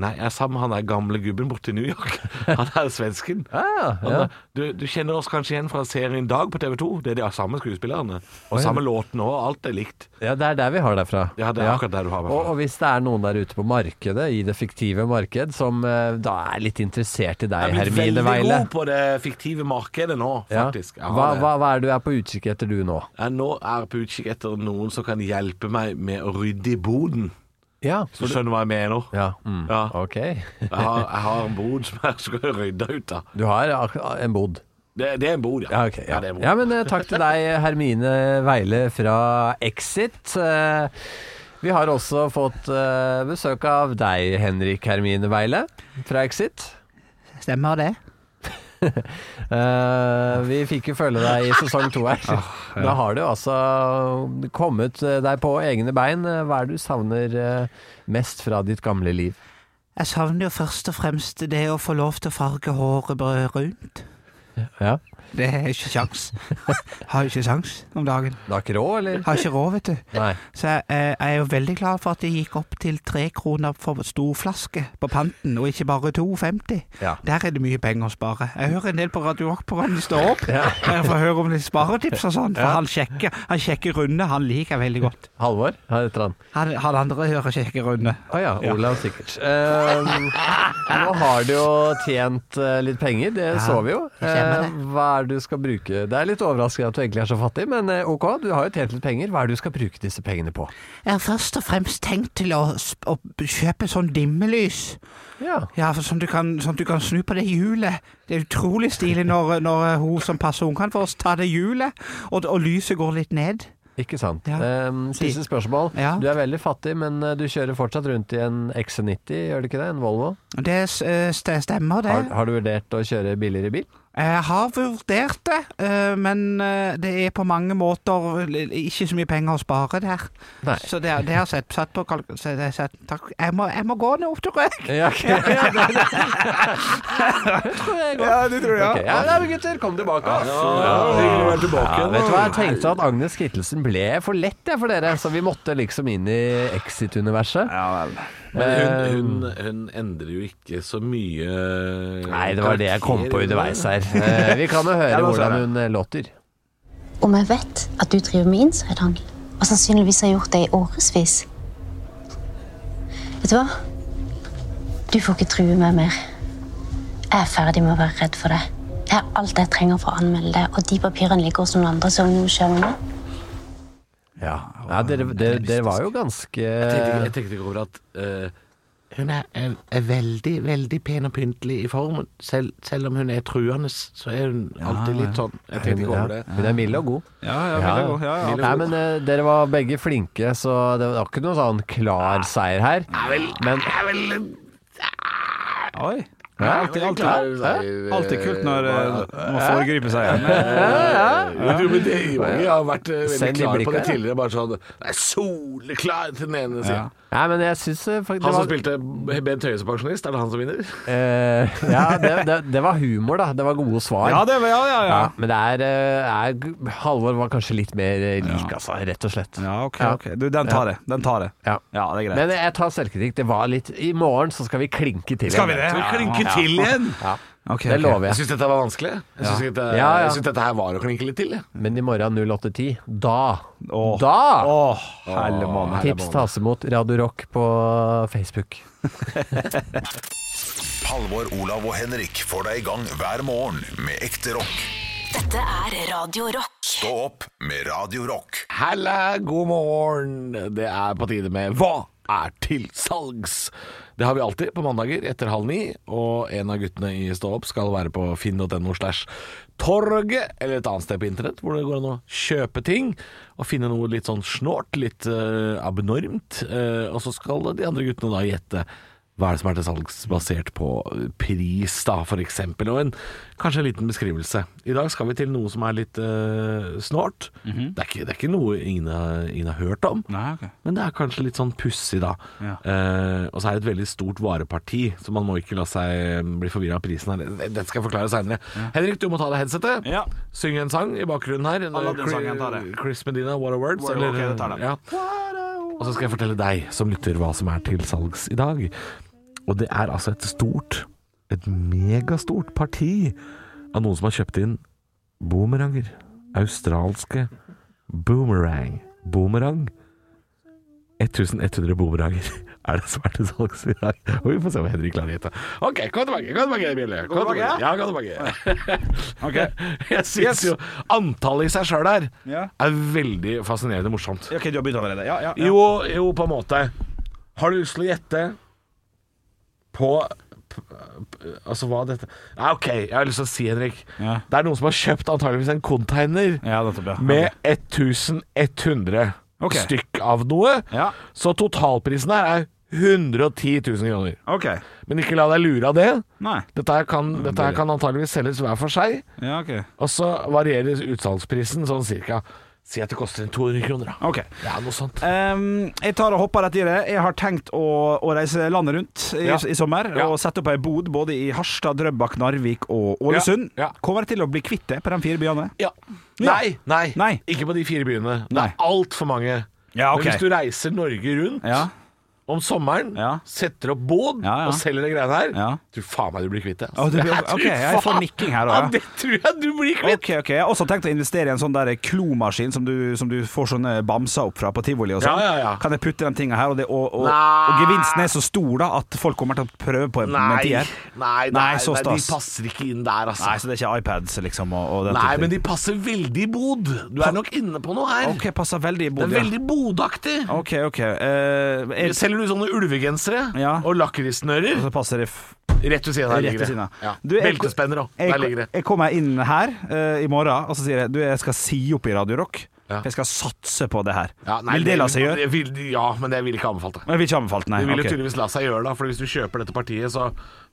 [SPEAKER 4] Nei, jeg er sammen med han der gamle gubben borte i New York. Han er svensken.
[SPEAKER 5] Ah,
[SPEAKER 4] Han
[SPEAKER 5] ja.
[SPEAKER 4] er- du, du kjenner oss kanskje igjen fra serien Dag på TV 2. Det er de samme skuespillerne. Og samme låtene og alt er likt.
[SPEAKER 5] Ja, det er der vi har deg fra.
[SPEAKER 4] Ja, det er akkurat der du har meg fra.
[SPEAKER 5] Og, og hvis det er noen der ute på markedet, i det fiktive marked, som eh, da er litt interessert i deg,
[SPEAKER 4] Jeg er blitt
[SPEAKER 5] Hermine
[SPEAKER 4] veldig
[SPEAKER 5] Weile
[SPEAKER 4] god på det fiktive markedet nå,
[SPEAKER 5] Ja.
[SPEAKER 4] faktisk. Jeg har
[SPEAKER 5] Hva,
[SPEAKER 4] det.
[SPEAKER 5] hva, hva er det du er på utkikk etter du nå?
[SPEAKER 4] Jeg nå er på utkikk etter noen som kan hjelpe meg med å rydde i boden.
[SPEAKER 5] Ja,
[SPEAKER 4] Hvis du skjønner hva jeg mener?
[SPEAKER 5] ja. Mm.
[SPEAKER 4] Ja.
[SPEAKER 5] Ok.
[SPEAKER 4] Jeg, har, jeg har en bod som jeg skal rydde ut av.
[SPEAKER 5] Du har ak- en bod.
[SPEAKER 4] Det, det er en bod, ja.
[SPEAKER 5] Ja, ok, ja.
[SPEAKER 4] det er en bod.
[SPEAKER 5] ja, men eh, takk til deg, Hermine Weile fra Exit. Eh, Vi har også fått eh, besøk av deg, Henrik Hermine Weile fra Exit.
[SPEAKER 10] Stemmer det?
[SPEAKER 5] Eh, Vi fikk jo følge deg i sesong to her. Da har du altså kommet eh, deg på egne bein. Eh, Hva er det du savner eh, mest fra ditt gamle liv?
[SPEAKER 10] Jeg savner jo først og fremst det å få lov til å farge håret bare rundt.
[SPEAKER 5] Ja.
[SPEAKER 10] Det er ikke sjans. Har ikke sjans om dagen.
[SPEAKER 5] Du har ikke råd, eller?
[SPEAKER 10] Har ikke råd, vet du.
[SPEAKER 5] Nei.
[SPEAKER 10] Så jeg, eh, jeg er jo veldig glad for at det gikk opp til tre kroner for storflaske på panten, og ikke bare 2,50.
[SPEAKER 5] Ja.
[SPEAKER 10] Der er det mye penger å spare. Jeg hører en del på Radio Rock-programmet de står opp, der jeg får høre om litt sparetips og sånn, for han sjekker, han sjekker runde, han liker jeg veldig godt.
[SPEAKER 5] Halvor? Har et eller annet?
[SPEAKER 10] Han, han andre hører sjekker runde.
[SPEAKER 5] Å ja, Olav sikkert. Ehm, nå har du jo tjent eh, litt penger, det så vi jo.
[SPEAKER 10] det skjer med
[SPEAKER 5] Ehm, hva er det du skal bruke? Det er litt overraskende at du egentlig er så fattig, men eh, ok, du har jo tjent litt penger. Hva er det du skal bruke disse pengene på?
[SPEAKER 10] Jeg har først og fremst tenkt til å, sp- å kjøpe sånn dimmelys.
[SPEAKER 5] Ja,
[SPEAKER 10] Ja, for sånn du kan, sånn du kan snu på det hjulet. Det er utrolig stilig når, når eh, hun som passer ungene for oss, tar det hjulet, og, og lyset går litt ned.
[SPEAKER 5] ikke sant.
[SPEAKER 10] Ja.
[SPEAKER 5] Ehm, siste spørsmål.
[SPEAKER 10] Ja.
[SPEAKER 5] Du er veldig fattig, men eh, du kjører fortsatt rundt i en XC90, gjør du ikke det? En Volvo?
[SPEAKER 10] Det s- eh, st- stemmer, det.
[SPEAKER 5] Har, har du vurdert å kjøre billigere bil?
[SPEAKER 10] Jeg har vurdert det, eh, men eh, det er på mange måter l- ikke så mye penger å spare der.
[SPEAKER 5] Nei.
[SPEAKER 10] Så det, det har jeg sett, satt på kalk... så det har jeg sett, takk. Jeg, må, jeg må gå nå opp til Røk.
[SPEAKER 5] Ja, ok.
[SPEAKER 10] Ja, det tror
[SPEAKER 5] Ok, ja, ja, men gutter, kom tilbake. ass. Ja, vet du hva, jeg tenkte at Agnes Kittelsen ble for lett jeg, for dere, så vi måtte liksom inn i Exit-universet.
[SPEAKER 4] Men hun, hun, hun endrer jo ikke så mye
[SPEAKER 5] Ehm. Nei, det var det jeg kom på underveis her. Eh, Vi kan jo høre hvordan hun eh, låter.
[SPEAKER 9] om jeg vet at du driver med insidehandel, og sannsynligvis har gjort det i årevis Vet du hva? Du får ikke true meg mer. Jeg er ferdig med å være redd for deg. Jeg har alt jeg trenger for å anmelde det, og de papirene ligger hos noen andre. Så om noe skjer med meg,
[SPEAKER 5] Ja, ja dere, dere, dere var jo ganske
[SPEAKER 4] Jeg tenkte ikke over at eh, hun er, er, er veldig, veldig pen og pyntelig i formen. Selv, selv om hun er truende, så er hun alltid
[SPEAKER 5] Ah,
[SPEAKER 4] litt sånn. Jeg tenkte ikke
[SPEAKER 5] ja,
[SPEAKER 4] over det.
[SPEAKER 5] Hun er mild og god.
[SPEAKER 3] Ja, ja, veldig god. ja, ja.
[SPEAKER 5] Nei, men eh, Dere var begge flinke, så det var ikke noen sånn klar seier her. Men
[SPEAKER 3] Oi. Ja, alltid, alltid,
[SPEAKER 4] Hæ?
[SPEAKER 3] alltid kult når eh, man foregriper seg.
[SPEAKER 4] Men du, eh, men det Yogi har vært eh, veldig
[SPEAKER 5] Send de
[SPEAKER 4] klar på det
[SPEAKER 5] blikka, ja.
[SPEAKER 4] tidligere. Bare sånn Det er soleklar til den ene
[SPEAKER 5] Ja.
[SPEAKER 4] siden.
[SPEAKER 5] Nei, men jeg syns eh, fakt- det
[SPEAKER 4] Han som
[SPEAKER 5] var-
[SPEAKER 4] spilte Bent Høie som pensjonist, er det han som vinner?
[SPEAKER 5] Eh, ja, det, det, det var humor, da. Det var gode svar.
[SPEAKER 3] Ja, det var, ja, ja, ja.
[SPEAKER 5] Ja, men det er, eh, er Halvor var kanskje litt mer eh, lik, altså. Rett og slett.
[SPEAKER 3] Ja, ok,
[SPEAKER 5] Ja.
[SPEAKER 3] ok. Du, den tar det. Den tar det.
[SPEAKER 5] Ja.
[SPEAKER 3] Ja, det er greit.
[SPEAKER 5] Men jeg tar selvkritikk. Det var litt I morgen så skal vi klinke til.
[SPEAKER 3] Skal vi det?
[SPEAKER 5] igjen.
[SPEAKER 4] Vi
[SPEAKER 5] Ja.
[SPEAKER 4] klinker
[SPEAKER 5] Ja.
[SPEAKER 4] til igjen!
[SPEAKER 5] Ja.
[SPEAKER 3] Ok,
[SPEAKER 5] Det
[SPEAKER 3] ok.
[SPEAKER 5] lover
[SPEAKER 4] Jeg
[SPEAKER 5] jeg.
[SPEAKER 4] syns dette var vanskelig. Jeg syns ikke det-
[SPEAKER 5] Ja, ja.
[SPEAKER 4] jeg syns dette her var å klinke litt til. jeg.
[SPEAKER 5] Men i morgen 08.10, da
[SPEAKER 3] Åh.
[SPEAKER 5] Da!
[SPEAKER 3] Åh, helle måned.
[SPEAKER 5] Tips tas imot Radio Rock på Facebook.
[SPEAKER 1] Halvor, Olav og Henrik får deg i gang hver morgen med ekte rock.
[SPEAKER 2] Dette er Radio Rock.
[SPEAKER 1] Stå opp med Radio Rock.
[SPEAKER 4] Halla, god morgen! Det er på tide med Hva er til salgs? Det har vi alltid på mandager etter halv ni, og en av guttene i Stå opp skal være på finn.no slash torget, eller et annet sted på internett hvor det går an å kjøpe ting og finne noe litt sånn snålt, litt eh, abnormt, eh, og så skal de andre guttene da gjette. Hva er det som er til salgs basert på pris, da, for eksempel? Og en, kanskje en liten beskrivelse. I dag skal vi til noe som er litt eh, snålt. det, er ikke, det er ikke noe ingen, har- ingen har hørt om,
[SPEAKER 10] Mhm. Nei, ok.
[SPEAKER 4] men det er kanskje litt sånn pussig, da.
[SPEAKER 10] Ja.
[SPEAKER 4] Eh, og så er det et veldig stort vareparti, så man må ikke la seg eh, bli forvirra av prisen her. Det- Dette skal jeg forklare seinere. Henrik, du må ta deg headsetet.
[SPEAKER 10] Ja.
[SPEAKER 4] Synge en sang i bakgrunnen her.
[SPEAKER 10] Aladdin-sangen tar det.
[SPEAKER 4] Chris Medina, What a Words.
[SPEAKER 10] What a- ok, det tar det.
[SPEAKER 4] Ja. Og så skal jeg fortelle deg som lytter hva som er til salgs i dag. Og det er altså et stort, et megastort parti av noen som har kjøpt inn boomeranger. Australske boomerang. Boomerang. 1100 boomerhager er det som er til salgs i dag. Og vi får se om Henrik klarer å gjette. OK, kom tilbake, kom tilbake, Bjelle. Kom tilbake. Ja, kom tilbake. Jeg syns jo antallet i seg sjøl her
[SPEAKER 3] Ja.
[SPEAKER 4] er veldig fascinerende morsomt.
[SPEAKER 3] Ok, du har begynt allerede. Ja, ja, ja.
[SPEAKER 4] Jo, jo, på en måte. Har du lyst til å gjette på p- p- Altså hva dette Nei, OK, jeg har lyst til å si, Henrik.
[SPEAKER 3] Ja.
[SPEAKER 4] Det er noen som har kjøpt antageligvis en container
[SPEAKER 3] Ja, dette blir bra.
[SPEAKER 4] med 1100
[SPEAKER 3] Ok.
[SPEAKER 4] stykk av noe.
[SPEAKER 3] Ja.
[SPEAKER 4] Så totalprisen her er 110 000 kroner.
[SPEAKER 3] Ok.
[SPEAKER 4] Men ikke la deg lure av det.
[SPEAKER 3] Nei.
[SPEAKER 4] Dette her kan, dette her kan antageligvis selges hver for seg,
[SPEAKER 3] Ja, ok.
[SPEAKER 4] og så varierer utsalgsprisen sånn cirka. Si at det koster en 200 kroner, da.
[SPEAKER 3] Ok.
[SPEAKER 4] Ja, noe sånt.
[SPEAKER 3] Ehm, jeg tar og hopper rett i det. Jeg har tenkt å, å reise landet rundt i,
[SPEAKER 4] Ja.
[SPEAKER 3] i sommer
[SPEAKER 4] Ja.
[SPEAKER 3] og sette opp ei bod både i Harstad, Drøbak, Narvik og Ålesund.
[SPEAKER 4] Ja. Ja.
[SPEAKER 3] Kommer jeg til å bli kvitt det på de fire byene?
[SPEAKER 4] Ja. Nei, nei,
[SPEAKER 3] Nei.
[SPEAKER 4] ikke på de fire byene. Det
[SPEAKER 3] Nei.
[SPEAKER 4] er altfor mange.
[SPEAKER 3] Ja,
[SPEAKER 4] Men hvis du reiser Norge rundt
[SPEAKER 3] ja.
[SPEAKER 4] om sommeren,
[SPEAKER 3] Ja.
[SPEAKER 4] setter opp båd
[SPEAKER 3] Ja, ja.
[SPEAKER 4] og selger de greiene her,
[SPEAKER 3] Ja.
[SPEAKER 4] tror faen meg du blir kvitt det.
[SPEAKER 3] Å, det blir-
[SPEAKER 4] Jeg tror
[SPEAKER 3] ok, jeg får
[SPEAKER 4] faen-
[SPEAKER 3] nikking her også,
[SPEAKER 4] Ja,
[SPEAKER 3] ja.
[SPEAKER 4] det tror jeg du blir kvitt.
[SPEAKER 3] Ok, ok Jeg har også tenkt å investere i en sånn der klomaskin som du, som du får sånne bamser opp fra på tivoli og sånn.
[SPEAKER 4] Ja, ja, ja.
[SPEAKER 3] Kan jeg putte de tinga her? Og, det, og, og,
[SPEAKER 4] Nei.
[SPEAKER 3] og gevinsten er så stor da at folk kommer til å prøve på en med en
[SPEAKER 4] Nei, nei,
[SPEAKER 3] tier.
[SPEAKER 4] nei,
[SPEAKER 3] Nei, så
[SPEAKER 4] nei, de
[SPEAKER 3] stas.
[SPEAKER 4] passer ikke inn der, altså.
[SPEAKER 3] Nei, så det er ikke iPads, liksom? Og, og den
[SPEAKER 4] Nei,
[SPEAKER 3] type
[SPEAKER 4] men
[SPEAKER 3] ting.
[SPEAKER 4] de passer veldig i bod. Du er nok inne på noe her.
[SPEAKER 3] OK, passer veldig i
[SPEAKER 4] Det er
[SPEAKER 3] Bodø.
[SPEAKER 4] veldig bodaktig.
[SPEAKER 3] OK, OK. Eh, jeg,
[SPEAKER 4] Selger du sånne ulvegensere
[SPEAKER 3] Ja.
[SPEAKER 4] og lakrisnører?
[SPEAKER 3] så passer det f-
[SPEAKER 4] Rett ved siden av
[SPEAKER 3] Rett
[SPEAKER 4] ligger
[SPEAKER 3] ved siden
[SPEAKER 4] det.
[SPEAKER 3] av.
[SPEAKER 4] Ja.
[SPEAKER 3] Du, jeg-
[SPEAKER 4] Beltespenner òg.
[SPEAKER 3] jeg,
[SPEAKER 4] Der ligger det.
[SPEAKER 3] jeg kommer inn her eh, i morgen og så sier jeg Du, jeg skal si opp i Radio Rock.
[SPEAKER 4] Ja.
[SPEAKER 3] Jeg skal satse på det her.
[SPEAKER 4] Ja, nei,
[SPEAKER 3] vil det la seg gjøre?
[SPEAKER 4] jeg vil- Ja, men det vil ikke anbefalt det.
[SPEAKER 3] Jeg vil ikke anbefale det, nei.
[SPEAKER 4] Det vil jo
[SPEAKER 3] ok.
[SPEAKER 4] tydeligvis la seg gjøre, da. For hvis du kjøper dette partiet, så,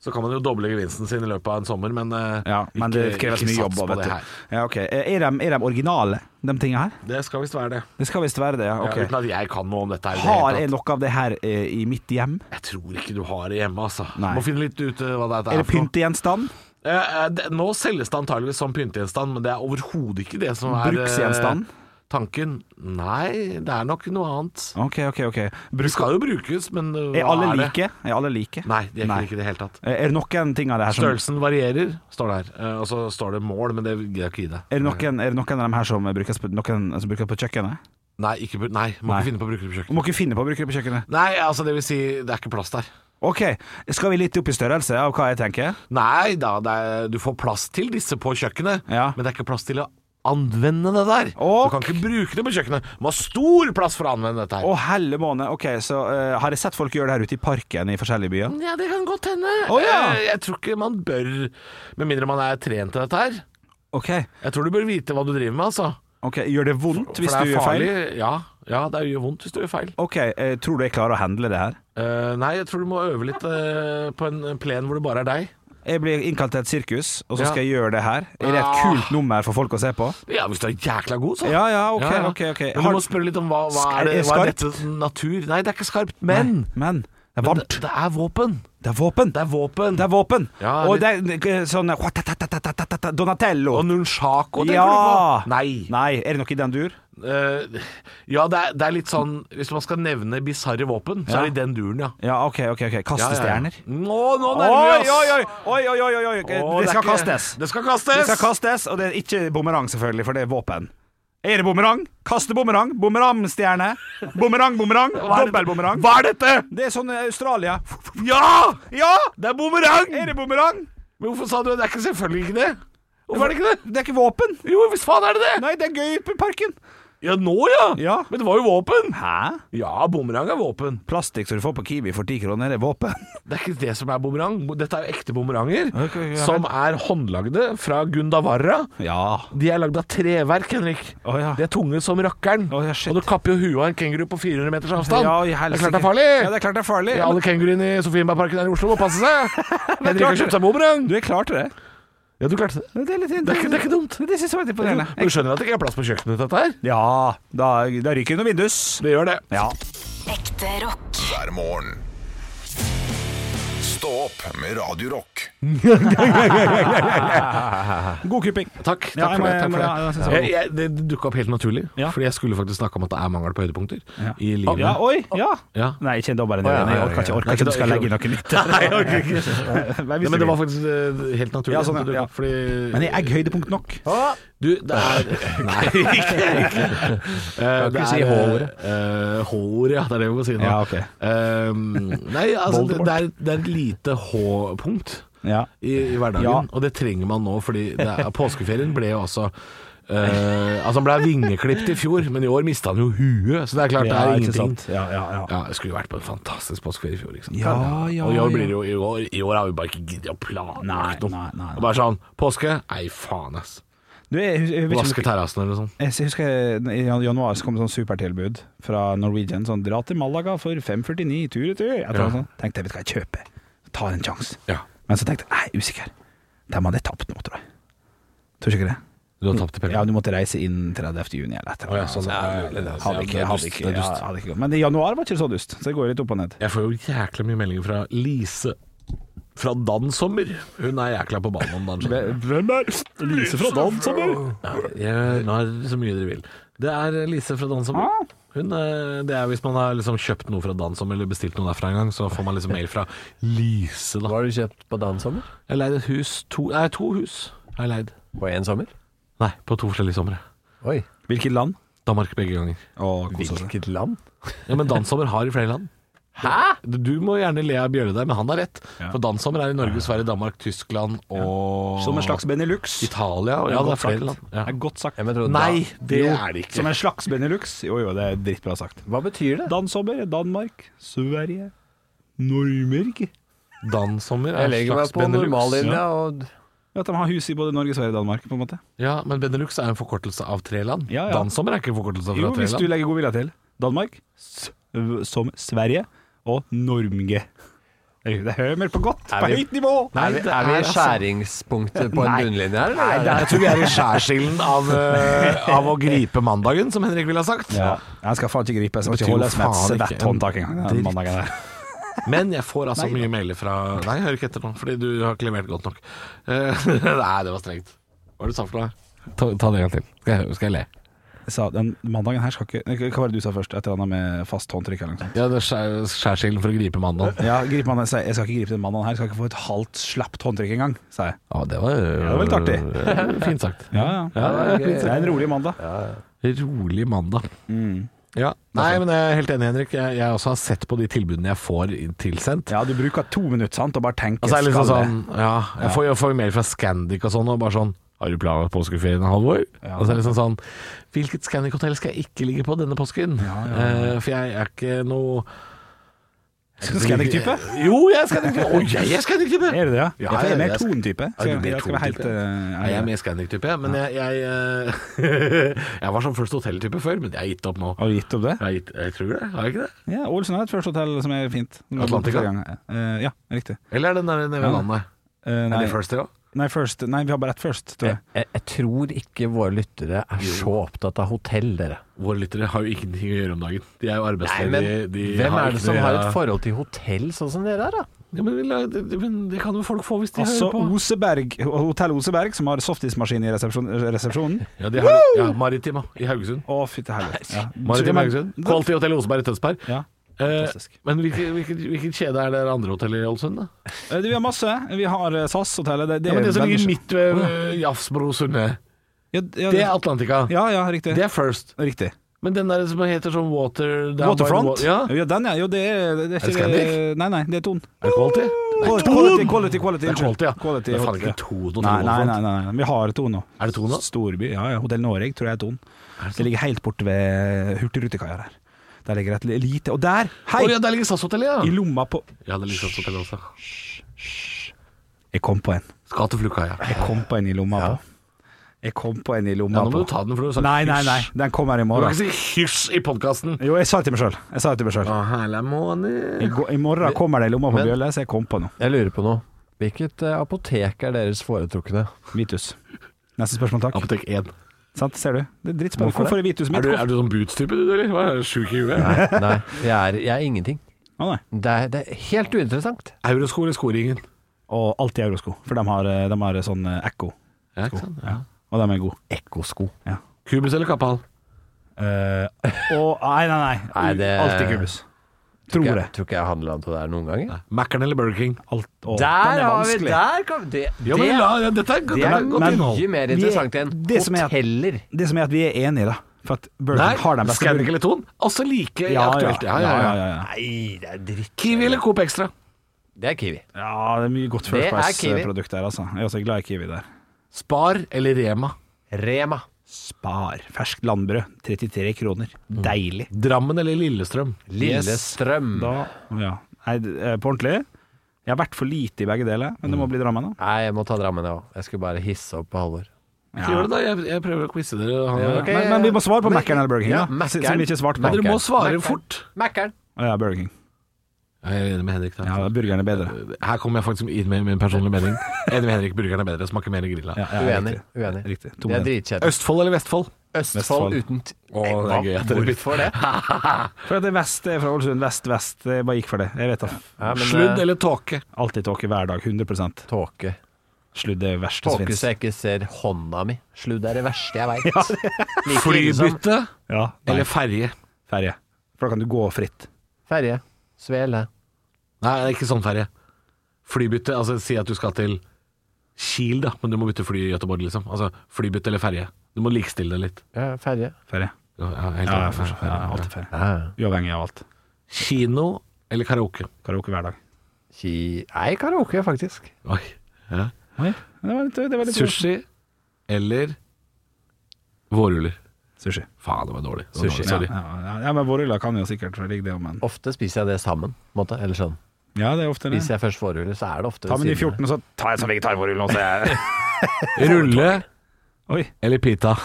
[SPEAKER 4] så kan man jo doble gevinsten sin i løpet av en sommer, men, eh,
[SPEAKER 3] Ja, men det
[SPEAKER 4] ikke-
[SPEAKER 3] kreves
[SPEAKER 4] ikke
[SPEAKER 3] mye
[SPEAKER 4] sats
[SPEAKER 3] jobb.
[SPEAKER 4] på
[SPEAKER 3] Vet
[SPEAKER 4] det
[SPEAKER 3] du.
[SPEAKER 4] her.
[SPEAKER 3] Ja, ok. Eh, er, de, er de originale, de tinga her?
[SPEAKER 4] Det skal visst være det.
[SPEAKER 3] Det skal visst være det, ja.
[SPEAKER 4] Ja, uten
[SPEAKER 3] ok
[SPEAKER 4] at jeg kan noe om dette her. i det hele
[SPEAKER 3] Har
[SPEAKER 4] tatt.
[SPEAKER 3] jeg noe av det her eh, i mitt hjem?
[SPEAKER 4] Jeg tror ikke du har det hjemme, altså.
[SPEAKER 3] Nei.
[SPEAKER 4] Må finne litt ut eh, hva det er.
[SPEAKER 3] Er det
[SPEAKER 4] for noe.
[SPEAKER 3] pyntegjenstand?
[SPEAKER 4] Eh, eh, det- Nå selges det antageligvis som pyntegjenstand, men det er overhodet ikke det som er eh,
[SPEAKER 3] Bruksgjenstand?
[SPEAKER 4] Tanken? Nei, det er nok noe annet.
[SPEAKER 3] Ok, ok, ok.
[SPEAKER 4] Det
[SPEAKER 3] Bruk,
[SPEAKER 4] skal jo brukes, men eh,
[SPEAKER 3] er
[SPEAKER 4] hva
[SPEAKER 3] alle
[SPEAKER 4] er det?
[SPEAKER 3] like? Er alle like?
[SPEAKER 4] Nei, de er
[SPEAKER 3] Nei.
[SPEAKER 4] ikke like i det hele tatt.
[SPEAKER 3] Eh, Er det noen ting av det her som
[SPEAKER 4] Størrelsen varierer, står det her. Eh, Og så står det mål, men det gidder jeg ikke gi deg.
[SPEAKER 3] er det, noen, er det noen av dem her som brukes på, noen som brukes på kjøkkenet?
[SPEAKER 4] Nei, ikke, bru- nei må
[SPEAKER 3] Nei.
[SPEAKER 4] ikke finne på å bruke det på
[SPEAKER 3] Du
[SPEAKER 4] kjøkkenet.
[SPEAKER 3] må ikke finne på å bruke det på kjøkkenet.
[SPEAKER 4] Nei, altså det vil si, det er ikke plass der.
[SPEAKER 3] Ok, Skal vi litt opp i størrelse av hva jeg tenker?
[SPEAKER 4] Nei da, det er, du får plass til disse på kjøkkenet,
[SPEAKER 3] Ja.
[SPEAKER 4] men det er ikke plass til å anvende det der.
[SPEAKER 3] Ok.
[SPEAKER 4] Du kan ikke bruke det på kjøkkenet. Du må ha stor plass for å anvende dette
[SPEAKER 3] Å,
[SPEAKER 4] her.
[SPEAKER 3] helle måned. Ok, så eh, Har jeg sett folk gjøre det her ute i parken i forskjellige byer?
[SPEAKER 4] Ja, det kan godt hende.
[SPEAKER 3] Å, ja.
[SPEAKER 4] Eh, Jeg tror ikke man bør, med mindre man er trent til dette her.
[SPEAKER 3] Ok,
[SPEAKER 4] Jeg tror du bør vite hva du driver med, altså.
[SPEAKER 3] ok, Gjør det vondt hvis du
[SPEAKER 4] for det er
[SPEAKER 3] gjør feil?
[SPEAKER 4] farlig. Ja, ja, det gjør vondt hvis du gjør feil.
[SPEAKER 3] Ok, eh, tror du jeg klarer å handle det her?
[SPEAKER 4] Eh, nei, jeg tror du må øve litt eh, på en plen hvor det bare er deg.
[SPEAKER 3] Jeg blir innkalt til et sirkus, og så
[SPEAKER 4] Ja. Ah.
[SPEAKER 3] skal jeg gjøre det her. Er det et kult nummer for folk å se på?
[SPEAKER 4] Ja, hvis du er jækla god, så.
[SPEAKER 3] Ja, ja, ok, ok, ok.
[SPEAKER 4] Men du
[SPEAKER 3] Har-
[SPEAKER 4] må spørre litt om hva, hva,
[SPEAKER 3] Sk-
[SPEAKER 4] er, det,
[SPEAKER 3] er
[SPEAKER 4] hva er
[SPEAKER 3] skarpt?
[SPEAKER 4] dette natur? Nei, det er ikke skarpt, men
[SPEAKER 3] Men det er
[SPEAKER 4] Men
[SPEAKER 3] varmt.
[SPEAKER 4] det, det er våpen.
[SPEAKER 3] Det er våpen.
[SPEAKER 4] Det er våpen.
[SPEAKER 3] Det er våpen.
[SPEAKER 4] Ja,
[SPEAKER 3] og det
[SPEAKER 4] litt-
[SPEAKER 3] er eh, sånn eh, Donatello.
[SPEAKER 4] Og nunchako, tenker
[SPEAKER 3] Ja!
[SPEAKER 4] du på? Nei.
[SPEAKER 3] Nei, er det noe i den dur?
[SPEAKER 4] Eh, ja, det er, det er litt sånn Hvis man skal nevne bisarre våpen, så
[SPEAKER 3] Ja.
[SPEAKER 4] er det i den duren, ja.
[SPEAKER 3] Ja, OK, OK. ok Kastestjerner.
[SPEAKER 4] Ja, ja, ja. Nå, nå
[SPEAKER 3] Oi,
[SPEAKER 4] nærmer vi
[SPEAKER 3] oi,
[SPEAKER 4] oss!
[SPEAKER 3] oi! oi, oi, oi, oi.
[SPEAKER 4] Å,
[SPEAKER 3] Det
[SPEAKER 4] er
[SPEAKER 3] skal
[SPEAKER 4] ikke-
[SPEAKER 3] kastes.
[SPEAKER 4] Det skal kastes!
[SPEAKER 3] Det skal kastes, og det er ikke bumerang, selvfølgelig, for det er våpen. Er det bumerang? Kaste bumerang. Bumerangstjerne. Bumerang, bumerang.
[SPEAKER 4] Hva er det-
[SPEAKER 3] Dobbeltbumerang.
[SPEAKER 4] Hva er dette?!
[SPEAKER 3] Det er sånn eh, Australia.
[SPEAKER 4] Ja!
[SPEAKER 3] Ja!
[SPEAKER 4] Det er bumerang!
[SPEAKER 3] Er det bumerang?
[SPEAKER 4] Men hvorfor sa du det? Det er ikke selvfølgelig ikke det. Hvorfor er det ikke det?
[SPEAKER 3] Det er ikke våpen.
[SPEAKER 4] Jo, hvis faen er det det!
[SPEAKER 3] Nei, det er gøy ute i parken.
[SPEAKER 4] Ja, nå ja.
[SPEAKER 3] Ja.
[SPEAKER 4] Men det var jo våpen.
[SPEAKER 3] Hæ?
[SPEAKER 4] Ja, bumerang er våpen.
[SPEAKER 3] Plastikk som du får på Kiwi for ti kroner, er våpen.
[SPEAKER 4] Det er ikke det som er bumerang. Dette er jo ekte bumeranger
[SPEAKER 3] Ok, ja vel.
[SPEAKER 4] som er håndlagde fra Gundavarra.
[SPEAKER 3] Ja.
[SPEAKER 4] De er lagd av treverk, Henrik.
[SPEAKER 3] Å, ja.
[SPEAKER 4] De er tunge som rakkeren.
[SPEAKER 3] Å, ja, shit.
[SPEAKER 4] og du kapper jo huet av en kenguru på 400 meters avstand.
[SPEAKER 3] Ja, i
[SPEAKER 4] det er
[SPEAKER 3] helsike.
[SPEAKER 4] klart det er farlig!
[SPEAKER 3] Ja, det er klart det er farlig.
[SPEAKER 4] alle kenguruene i Sofienbergparken her i Oslo må passe seg. Henrik
[SPEAKER 3] klart
[SPEAKER 4] har kjøpt seg bumerang.
[SPEAKER 3] Du, jeg klarte det.
[SPEAKER 4] Ja, du klarte det.
[SPEAKER 3] Det er, litt
[SPEAKER 4] Det er ikke, det er ikke dumt.
[SPEAKER 3] Det synes jeg var litt
[SPEAKER 4] Men
[SPEAKER 3] imponerende.
[SPEAKER 4] Du skjønner at det ikke er plass på kjøkkenet til dette her?
[SPEAKER 3] Ja, Ah, da, da ryker det noen vindus.
[SPEAKER 4] Det gjør det.
[SPEAKER 3] Ja.
[SPEAKER 2] Ekte rock.
[SPEAKER 1] hver morgen. Stå opp med Radio Rock.
[SPEAKER 3] God kupping.
[SPEAKER 4] Takk, takk
[SPEAKER 3] Ja, jeg
[SPEAKER 4] for
[SPEAKER 3] må-
[SPEAKER 4] det.
[SPEAKER 3] jeg
[SPEAKER 4] Takk
[SPEAKER 3] må-
[SPEAKER 4] for det.
[SPEAKER 3] ja, jeg synes det var
[SPEAKER 4] jeg, jeg, det dukka opp helt naturlig,
[SPEAKER 3] Ja.
[SPEAKER 4] fordi jeg skulle faktisk snakke om at det er mangel på høydepunkter i livet.
[SPEAKER 3] Ja, oi, ja.
[SPEAKER 4] Ja.
[SPEAKER 3] Nei, ikke en dommer enn
[SPEAKER 4] Å, ja,
[SPEAKER 3] Jeg
[SPEAKER 4] ja,
[SPEAKER 3] orker ikke,
[SPEAKER 4] ja, ja.
[SPEAKER 3] orker ikke du skal
[SPEAKER 4] Nei,
[SPEAKER 3] legge
[SPEAKER 4] ikke-
[SPEAKER 3] noe nytt.
[SPEAKER 4] Nei, jeg orker ikke.
[SPEAKER 3] Nei,
[SPEAKER 4] Nei, men det var faktisk eh, helt naturlig.
[SPEAKER 3] Ja, sånn, ja.
[SPEAKER 4] Det dukket
[SPEAKER 3] Ja.
[SPEAKER 4] opp, Fordi
[SPEAKER 3] Men er egg høydepunkt nok?
[SPEAKER 4] Du, det er Nei, ikke, ikke.
[SPEAKER 5] Kan ikke si H-ordet.
[SPEAKER 4] eh, H-ordet, ja. Det er det vi må si nå.
[SPEAKER 3] Ja, ok.
[SPEAKER 4] Eh, nei, altså, det, det, er, det er et lite H-punkt.
[SPEAKER 3] Ja.
[SPEAKER 4] i, i hverdagen.
[SPEAKER 3] Ja.
[SPEAKER 4] Og det trenger man nå, fordi det er, påskeferien ble jo også eh, altså Han ble vingeklipt i fjor, men i år mista han jo huet, så det er klart det
[SPEAKER 3] Ja,
[SPEAKER 4] er
[SPEAKER 3] ikke
[SPEAKER 4] ingenting.
[SPEAKER 3] sant. Ja, ja, ja.
[SPEAKER 4] Ja, jeg skulle jo vært på en fantastisk påskeferie i fjor. Ikke sant?
[SPEAKER 3] Ja, ja,
[SPEAKER 4] og i år,
[SPEAKER 3] ja.
[SPEAKER 4] blir det jo, i, år, i år har vi bare ikke giddet å
[SPEAKER 3] Nei,
[SPEAKER 4] planlegge
[SPEAKER 3] nei,
[SPEAKER 4] noe.
[SPEAKER 3] nei,
[SPEAKER 4] Og Bare sånn Påske? Nei, faen, ass.
[SPEAKER 3] Du, jeg, hus- jeg, vet ikke om
[SPEAKER 4] Vaske
[SPEAKER 3] du-
[SPEAKER 4] terrassen eller sånn. noe sånt.
[SPEAKER 3] jeg husker eh, i jan- januar så kom det sånn supertilbud fra Norwegian. Sånn 'dra til Malaga for 5,49 tur i tur'. Jeg
[SPEAKER 4] Ja.
[SPEAKER 3] tror sånn. tenkte jeg, vet du hva, jeg kjøper. Tar en sjanse.
[SPEAKER 4] Ja.
[SPEAKER 3] Men så tenkte jeg, jeg er usikker. De hadde tapt nå, tror jeg. Tror ikke det?
[SPEAKER 4] Du har tapt i
[SPEAKER 3] Ja,
[SPEAKER 4] penger.
[SPEAKER 3] du måtte reise inn 30. juni eller et eller
[SPEAKER 4] Å ja, sånn, ja, ja, ja, ja.
[SPEAKER 3] Hadde
[SPEAKER 4] Ja, det
[SPEAKER 3] ikke,
[SPEAKER 4] er
[SPEAKER 3] hadde
[SPEAKER 4] dust,
[SPEAKER 3] ikke,
[SPEAKER 4] det er
[SPEAKER 3] ja,
[SPEAKER 4] dust.
[SPEAKER 3] hadde ikke gått. Men i januar var ikke så dust, så det går litt opp og ned.
[SPEAKER 4] Jeg får jo jækla mye meldinger fra Lise fra Dan Sommer. Hun er jækla på ballen om dagen. skjønner du.
[SPEAKER 3] Hvem er Lise fra Dansommer?
[SPEAKER 4] Jeg har så mye dere vil. Det er Lise fra Dansommer. Hun, eh, det er Hvis man har liksom kjøpt noe fra Dansommer eller bestilt noe derfra en gang, så får man liksom mail fra Lise.
[SPEAKER 5] Hva
[SPEAKER 4] da
[SPEAKER 5] har du kjøpt på dansommer?
[SPEAKER 4] Jeg har leid et hus to, Nei, to hus. Har jeg leid.
[SPEAKER 5] På én sommer?
[SPEAKER 4] Nei, på to forskjellige somre.
[SPEAKER 5] Oi.
[SPEAKER 3] Hvilket land?
[SPEAKER 4] Danmark begge ganger.
[SPEAKER 5] Hvilket land?
[SPEAKER 4] Ja, Men Dansommer har i flere land. Hæ?! Du må gjerne le av Bjørle der, men han har rett.
[SPEAKER 3] Ja.
[SPEAKER 4] For Dansommer er i Norge, Sverige, Danmark, Tyskland og
[SPEAKER 3] Som en slags Benelux.
[SPEAKER 4] Italia. Og ja, det er flere land. Ja.
[SPEAKER 3] Det er godt sagt.
[SPEAKER 5] Ja, men jeg trodde
[SPEAKER 4] Nei,
[SPEAKER 5] da-
[SPEAKER 4] det
[SPEAKER 3] Jo,
[SPEAKER 4] er det ikke.
[SPEAKER 3] Som en slags Benelux. Jo jo, det er drittbra sagt.
[SPEAKER 5] Hva betyr det?
[SPEAKER 3] Dansommer, Danmark, Sverige, Norge
[SPEAKER 4] Dansommer er
[SPEAKER 5] Jeg
[SPEAKER 4] en
[SPEAKER 5] legger meg
[SPEAKER 4] slags
[SPEAKER 5] på
[SPEAKER 4] Benelux.
[SPEAKER 5] normallinja og
[SPEAKER 3] Ja, At de har hus i både Norge, Sverige og Danmark, på en måte.
[SPEAKER 4] Ja, men Benelux er en forkortelse av tre land.
[SPEAKER 3] Ja, ja.
[SPEAKER 4] Dansommer er ikke en forkortelse fra
[SPEAKER 3] Jo,
[SPEAKER 4] tre
[SPEAKER 3] hvis du
[SPEAKER 4] land.
[SPEAKER 3] legger god vilje til. Danmark, s som Sverige og Norge. Det hører mer på godt.
[SPEAKER 5] Er
[SPEAKER 3] På
[SPEAKER 5] vi-
[SPEAKER 3] høyt nivå!
[SPEAKER 5] er vi,
[SPEAKER 4] det
[SPEAKER 5] er vi
[SPEAKER 4] er
[SPEAKER 5] i
[SPEAKER 4] altså-
[SPEAKER 5] skjæringspunktet på en
[SPEAKER 3] Nei.
[SPEAKER 5] bunnlinje her? eller?
[SPEAKER 4] Jeg tror vi er i skjærsilden av, eh, av å gripe mandagen, som Henrik ville ha sagt.
[SPEAKER 3] Ja. Jeg skal faen ikke gripe. Jeg skal
[SPEAKER 4] Det
[SPEAKER 3] ikke
[SPEAKER 4] betyr
[SPEAKER 3] holde
[SPEAKER 4] jo
[SPEAKER 3] med et
[SPEAKER 4] faen ikke
[SPEAKER 3] svett
[SPEAKER 4] en
[SPEAKER 3] håndtak engang. den
[SPEAKER 4] dritt.
[SPEAKER 3] mandagen der.
[SPEAKER 4] Men jeg får altså mye mailer fra Nei, hør ikke etter nå, fordi du har ikke levert godt nok. Eh, nei, det var strengt. Hva var det du sa for noe? Ta, det en gang til. Skal jeg, le?
[SPEAKER 3] Sa, den mandagen her skal ikke Hva var det du sa først? Et eller annet med fast håndtrykk eller noe sånt?
[SPEAKER 4] Ja, det er skjær- skjærsilden for å gripe mandagen.
[SPEAKER 3] Ja, grip mannen, sa jeg, jeg skal ikke gripe den mannen her. Jeg skal ikke få et halvt slapt håndtrykk engang, sa jeg.
[SPEAKER 4] Ja, det var,
[SPEAKER 3] det var litt artig.
[SPEAKER 4] artig. Fint sagt.
[SPEAKER 3] Ja, ja. det er en rolig mandag.
[SPEAKER 4] Rolig mandag.
[SPEAKER 3] Mm.
[SPEAKER 4] Ja. Nei, men jeg er helt enig, Henrik. Jeg, jeg også har sett på de tilbudene jeg får i- tilsendt.
[SPEAKER 3] Ja, du bruker to minutter sant, og bare tenker
[SPEAKER 4] Altså, jeg, er litt
[SPEAKER 3] skal
[SPEAKER 4] sånn, ja, jeg, får, jeg får mail fra Scandic og sånn, og bare sånn Har du planlagt påskeferien, Halvor?
[SPEAKER 3] Ja.
[SPEAKER 4] og så er det liksom sånn Hvilket Scandic-hotell skal jeg ikke ligge på denne påsken? Eh, for jeg er ikke noe
[SPEAKER 3] det- Scandic-type?
[SPEAKER 4] Jo, jeg er Scandic-type! Å, jeg er Scandic-type!
[SPEAKER 3] Er du det, ja?
[SPEAKER 4] Ja,
[SPEAKER 3] jeg, er
[SPEAKER 4] ja,
[SPEAKER 3] mer
[SPEAKER 4] jeg skal-
[SPEAKER 3] tonetype.
[SPEAKER 4] Ja,
[SPEAKER 3] Skal,
[SPEAKER 4] du
[SPEAKER 3] jeg-
[SPEAKER 4] blir
[SPEAKER 3] jeg skal være helt
[SPEAKER 4] tonetype.
[SPEAKER 3] eh,
[SPEAKER 4] Nei, jeg er mer Scandic-type, jeg. men jeg jeg, eh, jeg var sånn First Hotel-type før, men jeg har gitt opp nå.
[SPEAKER 3] Har du gitt opp det?
[SPEAKER 4] Jeg, har gitt, jeg tror det, har jeg ikke det?
[SPEAKER 3] Ja, Ålesund har et første hotell som er fint.
[SPEAKER 4] Atlantica?
[SPEAKER 3] Eh, ja, riktig.
[SPEAKER 4] Eller er det den der nede ved
[SPEAKER 3] Ja.
[SPEAKER 4] vannet?
[SPEAKER 3] Eh, Eh, nei.
[SPEAKER 4] Er det First Day òg?
[SPEAKER 3] Nei, first, nei, vi har bare ett First, tror jeg.
[SPEAKER 5] Jeg, jeg, jeg tror ikke våre lyttere er så opptatt av hotell, dere.
[SPEAKER 4] Våre lyttere har jo ingenting å gjøre om dagen. De er jo
[SPEAKER 5] Nei,
[SPEAKER 4] arbeidsledige.
[SPEAKER 5] men
[SPEAKER 4] de, de
[SPEAKER 5] hvem
[SPEAKER 4] har
[SPEAKER 5] er det
[SPEAKER 4] ikke
[SPEAKER 5] som
[SPEAKER 4] noe-
[SPEAKER 5] har et forhold til hotell sånn som dere er, da?
[SPEAKER 4] ja, men, vi la- det- det- men det kan jo folk få hvis de
[SPEAKER 3] Altså
[SPEAKER 4] hører på.
[SPEAKER 3] Oseberg, Hotell Oseberg, som har softismaskin i resepsjon, resepsjonen.
[SPEAKER 4] Ja, de har, ja, Maritima i Haugesund.
[SPEAKER 3] Å, fytti helvete. Ja.
[SPEAKER 4] Maritim
[SPEAKER 3] Men-
[SPEAKER 4] Haugesund. Quality Hotel Oseberg i Tønsberg.
[SPEAKER 3] Ja.
[SPEAKER 4] Eh, men hvilken hvilke, hvilken kjede er det andre hotellet i Ålesund, da?
[SPEAKER 3] Eh, Vi har masse. Vi har eh, SAS-hotellet. Det, det
[SPEAKER 4] Ja, men
[SPEAKER 3] er
[SPEAKER 4] det som
[SPEAKER 3] veldig
[SPEAKER 4] ligger
[SPEAKER 3] skjønt.
[SPEAKER 4] midt ved eh, Jafsbro Sunde,
[SPEAKER 3] ja, ja,
[SPEAKER 4] det er Atlantica.
[SPEAKER 3] ja, ja, riktig.
[SPEAKER 4] Det er First.
[SPEAKER 3] riktig.
[SPEAKER 4] Men den der som heter sånn Water down by the
[SPEAKER 3] Waterfront.
[SPEAKER 4] wa- Ja.
[SPEAKER 3] Ja, den er jo det er, det er,
[SPEAKER 4] Er det
[SPEAKER 3] ikke-
[SPEAKER 4] Scandic?
[SPEAKER 3] Nei, nei, det er Ton.
[SPEAKER 4] Er det Quality?
[SPEAKER 3] Quality, quality, quality, quality,
[SPEAKER 4] Det er Quality, ja.
[SPEAKER 3] Quality,
[SPEAKER 4] det er faen
[SPEAKER 3] Quality.
[SPEAKER 4] ikke to noe
[SPEAKER 3] Nei, nei, nei, nei, nei. vi har Ton nå.
[SPEAKER 4] Er det to nå?
[SPEAKER 3] Storby. Ja, ja. Hotell Norge tror jeg er Ton. Det ligger helt borte ved Hurtigrutekaia der. Der ligger et lite Og der! Hei!
[SPEAKER 4] Å ja, der ligger SAS-hotellet, ja.
[SPEAKER 3] I lomma på
[SPEAKER 4] Ja, det ligger SAS-hotellet også.
[SPEAKER 3] Jeg kom på en.
[SPEAKER 4] Skal til Flukka, ja.
[SPEAKER 3] Jeg kom på en i lomma på. Jeg kom på en i
[SPEAKER 4] ja.
[SPEAKER 3] lomma
[SPEAKER 4] Nå må
[SPEAKER 3] på.
[SPEAKER 4] du ta den, for du har sagt
[SPEAKER 3] Nei, nei, nei.
[SPEAKER 4] hysj.
[SPEAKER 3] Den kommer i
[SPEAKER 4] Du
[SPEAKER 3] morgen.
[SPEAKER 4] kan ikke si hysj i podkasten.
[SPEAKER 3] Jo, jeg sa det til meg sjøl. Jeg sa det til meg sjøl. I, går- I morgen kommer det i lomma på
[SPEAKER 5] Men-
[SPEAKER 3] Bjølle, så jeg kom på noe.
[SPEAKER 5] Jeg lurer på noe. Hvilket eh, apotek er deres foretrukne?
[SPEAKER 3] Vitus. Neste spørsmål, takk.
[SPEAKER 4] Apotek 1.
[SPEAKER 3] Sant, ser du? Det er drittspennende.
[SPEAKER 5] Hvorfor
[SPEAKER 3] Hvorfor
[SPEAKER 5] det?
[SPEAKER 3] er Vitus mitt?
[SPEAKER 4] Er du, er du sånn Boots-type, du, eller? Hva er du Sjuk i huet?
[SPEAKER 5] Nei, jeg er, jeg er ingenting.
[SPEAKER 3] Å, nei.
[SPEAKER 5] Det er, det er helt uinteressant.
[SPEAKER 4] Eurosko eller Skoringen?
[SPEAKER 3] Og alltid eurosko, for de har, eh, de har sånn eh, ekko.
[SPEAKER 4] Ja, ikke sant? Ja.
[SPEAKER 3] Og de er gode.
[SPEAKER 5] Ekkosko.
[SPEAKER 4] Kubus eller Kapphall?
[SPEAKER 3] Eh, og nei, nei, nei.
[SPEAKER 5] Nei, det-
[SPEAKER 3] Alltid kubus. Tror
[SPEAKER 5] Jeg
[SPEAKER 3] det.
[SPEAKER 5] tror ikke jeg har handla til det der noen gang. jeg.
[SPEAKER 4] Mækkern eller Burger King?
[SPEAKER 3] Alt, å, den
[SPEAKER 5] Der
[SPEAKER 3] er
[SPEAKER 5] har vi
[SPEAKER 3] vanskelig.
[SPEAKER 5] der kom, det, det,
[SPEAKER 4] Ja, men la, ja, dette er,
[SPEAKER 5] det
[SPEAKER 4] dette
[SPEAKER 5] er
[SPEAKER 4] er godt innhold.
[SPEAKER 5] mye mer interessant enn
[SPEAKER 3] Det som er at-
[SPEAKER 5] hoteller.
[SPEAKER 3] Det som er at vi er enige, da. For at Burger
[SPEAKER 4] Nei,
[SPEAKER 3] King har den beste
[SPEAKER 4] Scandic
[SPEAKER 3] burgeren.
[SPEAKER 4] eller Thon? Altså like
[SPEAKER 3] Ja, ja,
[SPEAKER 4] aktuelt. Ja, ja, ja.
[SPEAKER 3] ja, ja.
[SPEAKER 5] Nei, det er dritt.
[SPEAKER 4] Kiwi eller Coop Extra?
[SPEAKER 5] Det er Kiwi.
[SPEAKER 3] Ja, det er mye godt
[SPEAKER 5] Det er
[SPEAKER 3] First
[SPEAKER 5] kiwi.
[SPEAKER 3] Price-produkt der, altså. Jeg er også glad i Kiwi der.
[SPEAKER 4] Spar eller Rema?
[SPEAKER 5] Rema.
[SPEAKER 3] Spar. Ferskt landbrød. 33 kroner.
[SPEAKER 4] Mm.
[SPEAKER 3] Deilig.
[SPEAKER 4] Drammen eller Lillestrøm?
[SPEAKER 5] Lillestrøm.
[SPEAKER 3] Da Ja. Nei, det- eh, på ordentlig. Jeg har vært for lite i begge deler, men
[SPEAKER 4] Mm.
[SPEAKER 3] det må bli Drammen, da.
[SPEAKER 5] Nei, jeg må ta Drammen, jeg òg. Jeg skulle bare hisse opp på Halvor.
[SPEAKER 4] Ikke Gjør det, da. Jeg, jeg prøver å quize dere. Han,
[SPEAKER 3] Ja,
[SPEAKER 4] Ok.
[SPEAKER 3] men, men vi må svare på Mækkern eller Burger King,
[SPEAKER 5] Ja,
[SPEAKER 3] da.
[SPEAKER 5] Mækkern.
[SPEAKER 3] Siden vi ikke svarte på
[SPEAKER 5] Mækkern.
[SPEAKER 4] Dere må svare
[SPEAKER 5] Mækkern.
[SPEAKER 4] fort.
[SPEAKER 5] Mækkern.
[SPEAKER 3] Å Ja, Burger King.
[SPEAKER 4] Jeg er enig med Henrik. Da.
[SPEAKER 3] Ja, burgeren er bedre.
[SPEAKER 4] Her kommer jeg faktisk inn med min personlige mening. Enig med Henrik, burgeren er bedre. Smaker mer grilla.
[SPEAKER 3] Ja, ja,
[SPEAKER 5] Uenig.
[SPEAKER 3] riktig.
[SPEAKER 5] Uenig.
[SPEAKER 3] Riktig. To
[SPEAKER 5] Det
[SPEAKER 3] minutter.
[SPEAKER 5] er dritkjedelig.
[SPEAKER 4] Østfold eller Vestfold?
[SPEAKER 5] Østfold uten t
[SPEAKER 4] Å, det er gøy at dere bytter.
[SPEAKER 5] Hvorfor det?
[SPEAKER 3] For at det er vest det er fra Ålesund. Vest, vest. Jeg bare gikk for det. Jeg vet da.
[SPEAKER 5] Ja, men,
[SPEAKER 4] Sludd
[SPEAKER 5] eh,
[SPEAKER 4] eller tåke?
[SPEAKER 3] Alltid tåke hver dag. 100
[SPEAKER 5] Tåke.
[SPEAKER 3] Sludd er verst som
[SPEAKER 5] Tåke
[SPEAKER 3] finnes.
[SPEAKER 5] så jeg ikke ser hånda mi. Sludd er det verste jeg veit.
[SPEAKER 4] Flybytte
[SPEAKER 3] Ja,
[SPEAKER 4] eller
[SPEAKER 3] eller
[SPEAKER 4] ferje?
[SPEAKER 3] ferje. For da kan du gå fritt.
[SPEAKER 5] Ferje. Svele.
[SPEAKER 4] Nei, det er ikke sånn ferje. Flybytte, altså si at du skal til Kiel, da, men du må bytte fly i Göteborg, liksom. Altså flybytte eller ferje. Du må likestille det litt.
[SPEAKER 5] Ja, ferje.
[SPEAKER 3] Ferje.
[SPEAKER 4] Ja, ja, helt
[SPEAKER 3] Ja, ja,
[SPEAKER 4] enig.
[SPEAKER 3] fortsatt ferje. Ja, alltid ferje.
[SPEAKER 5] Ja.
[SPEAKER 3] Uavhengig av alt.
[SPEAKER 4] Kino eller karaoke?
[SPEAKER 3] Karaoke hver dag.
[SPEAKER 5] Ki... Nei, karaoke, faktisk.
[SPEAKER 4] Oi. Ja.
[SPEAKER 3] Det var litt, det var litt
[SPEAKER 4] Sushi eller vårruller?
[SPEAKER 3] Sushi.
[SPEAKER 4] Faen, det var dårlig. Det var
[SPEAKER 5] Sushi,
[SPEAKER 4] dårlig. Sorry.
[SPEAKER 3] Ja, ja, ja, men vårruller kan jo sikkert ligge det om en
[SPEAKER 5] Ofte spiser jeg det sammen. på en Måte. Eller sånn.
[SPEAKER 3] Ja, det er ofte det.
[SPEAKER 5] Spiser jeg først vårruller, så er det ofte
[SPEAKER 3] Ta med de
[SPEAKER 5] siden av.
[SPEAKER 3] 14, så tar jeg en sånn vegetarvårrull nå, så jeg
[SPEAKER 4] Rulle
[SPEAKER 3] Oi.
[SPEAKER 4] eller pita?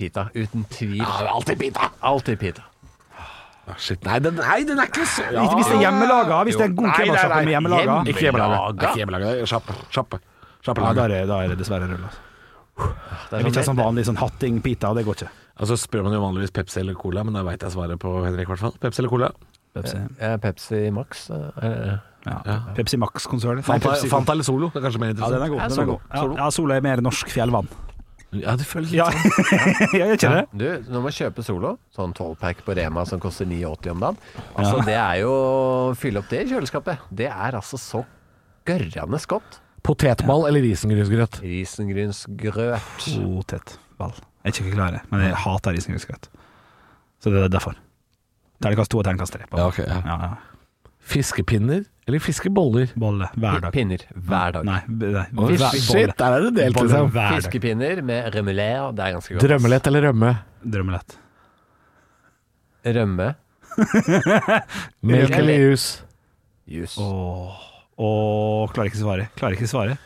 [SPEAKER 5] Pita. Uten tvil.
[SPEAKER 4] alltid pita!
[SPEAKER 5] Alltid pita.
[SPEAKER 4] Ah, Shit. Nei, den, nei, den er ikke så ja.
[SPEAKER 3] Ikke hvis det er hjemmelaga, hvis det er en god
[SPEAKER 4] Nei, nei,
[SPEAKER 3] kebabsjappe
[SPEAKER 4] nei.
[SPEAKER 3] med hjemmelaga.
[SPEAKER 4] Ikke hjemmelaga. Ikke hjemmelaga. Kjappe. Kjappe. Kjappe
[SPEAKER 3] Ja, da
[SPEAKER 4] laga.
[SPEAKER 3] er, det- da er det dessverre rull. Altså.
[SPEAKER 5] Det
[SPEAKER 3] Jeg vil ikke ha sånn vanlig sånn hatting-pita, det går ikke.
[SPEAKER 4] Altså spør man jo vanligvis Pepsi eller Cola, men da veit jeg svaret på Henrik i hvert fall. Pepsi eller Cola?
[SPEAKER 3] Pepsi,
[SPEAKER 5] Eh, Pepsi Max. eh,
[SPEAKER 3] ja. Pepsi Max-konsernet. Nei,
[SPEAKER 4] Fanta,
[SPEAKER 3] Pepsi-
[SPEAKER 4] Fanta eller Solo? Det er kanskje mer
[SPEAKER 3] Ja, den er
[SPEAKER 4] interessant.
[SPEAKER 3] god.
[SPEAKER 5] Ja,
[SPEAKER 3] Den er
[SPEAKER 5] Solo.
[SPEAKER 3] god. Ja, ja, Sola er mer norsk fjellvann.
[SPEAKER 4] Ja, det føles litt
[SPEAKER 3] Ja,
[SPEAKER 4] sånn.
[SPEAKER 3] jeg gjør ikke det?
[SPEAKER 5] Du, når man kjøper Solo, sånn 12-pack på Rema som koster 9,80 om dagen Altså, det er jo Fyll opp det i kjøleskapet. Det er altså så gørrende godt.
[SPEAKER 4] Potetball eller risengrynsgrøt?
[SPEAKER 5] Risengrynsgrøt.
[SPEAKER 3] Potetball. Jeg er ikke glad i det, men jeg hater risengrynsgrøt. Så det er derfor. Terningkast to og terningkast tre. på
[SPEAKER 4] Ja,
[SPEAKER 3] meg.
[SPEAKER 4] ok, ja.
[SPEAKER 3] Ja, ja.
[SPEAKER 4] Fiskepinner eller fiskeboller?
[SPEAKER 3] Bolle hver dag.
[SPEAKER 5] Pinner hver dag.
[SPEAKER 3] Nei, b- nei.
[SPEAKER 4] Å,
[SPEAKER 3] hver-
[SPEAKER 4] Shit, der er det delt,
[SPEAKER 3] Bolle
[SPEAKER 4] liksom.
[SPEAKER 3] hver dag.
[SPEAKER 5] Fiskepinner med remoulade, det er ganske godt.
[SPEAKER 4] Drømmelett eller rømme?
[SPEAKER 3] Drømmelett.
[SPEAKER 5] Rømme.
[SPEAKER 4] Melk eller juice?
[SPEAKER 5] Jus.
[SPEAKER 3] Åh, åh, klarer ikke svare. Klarer ikke svare.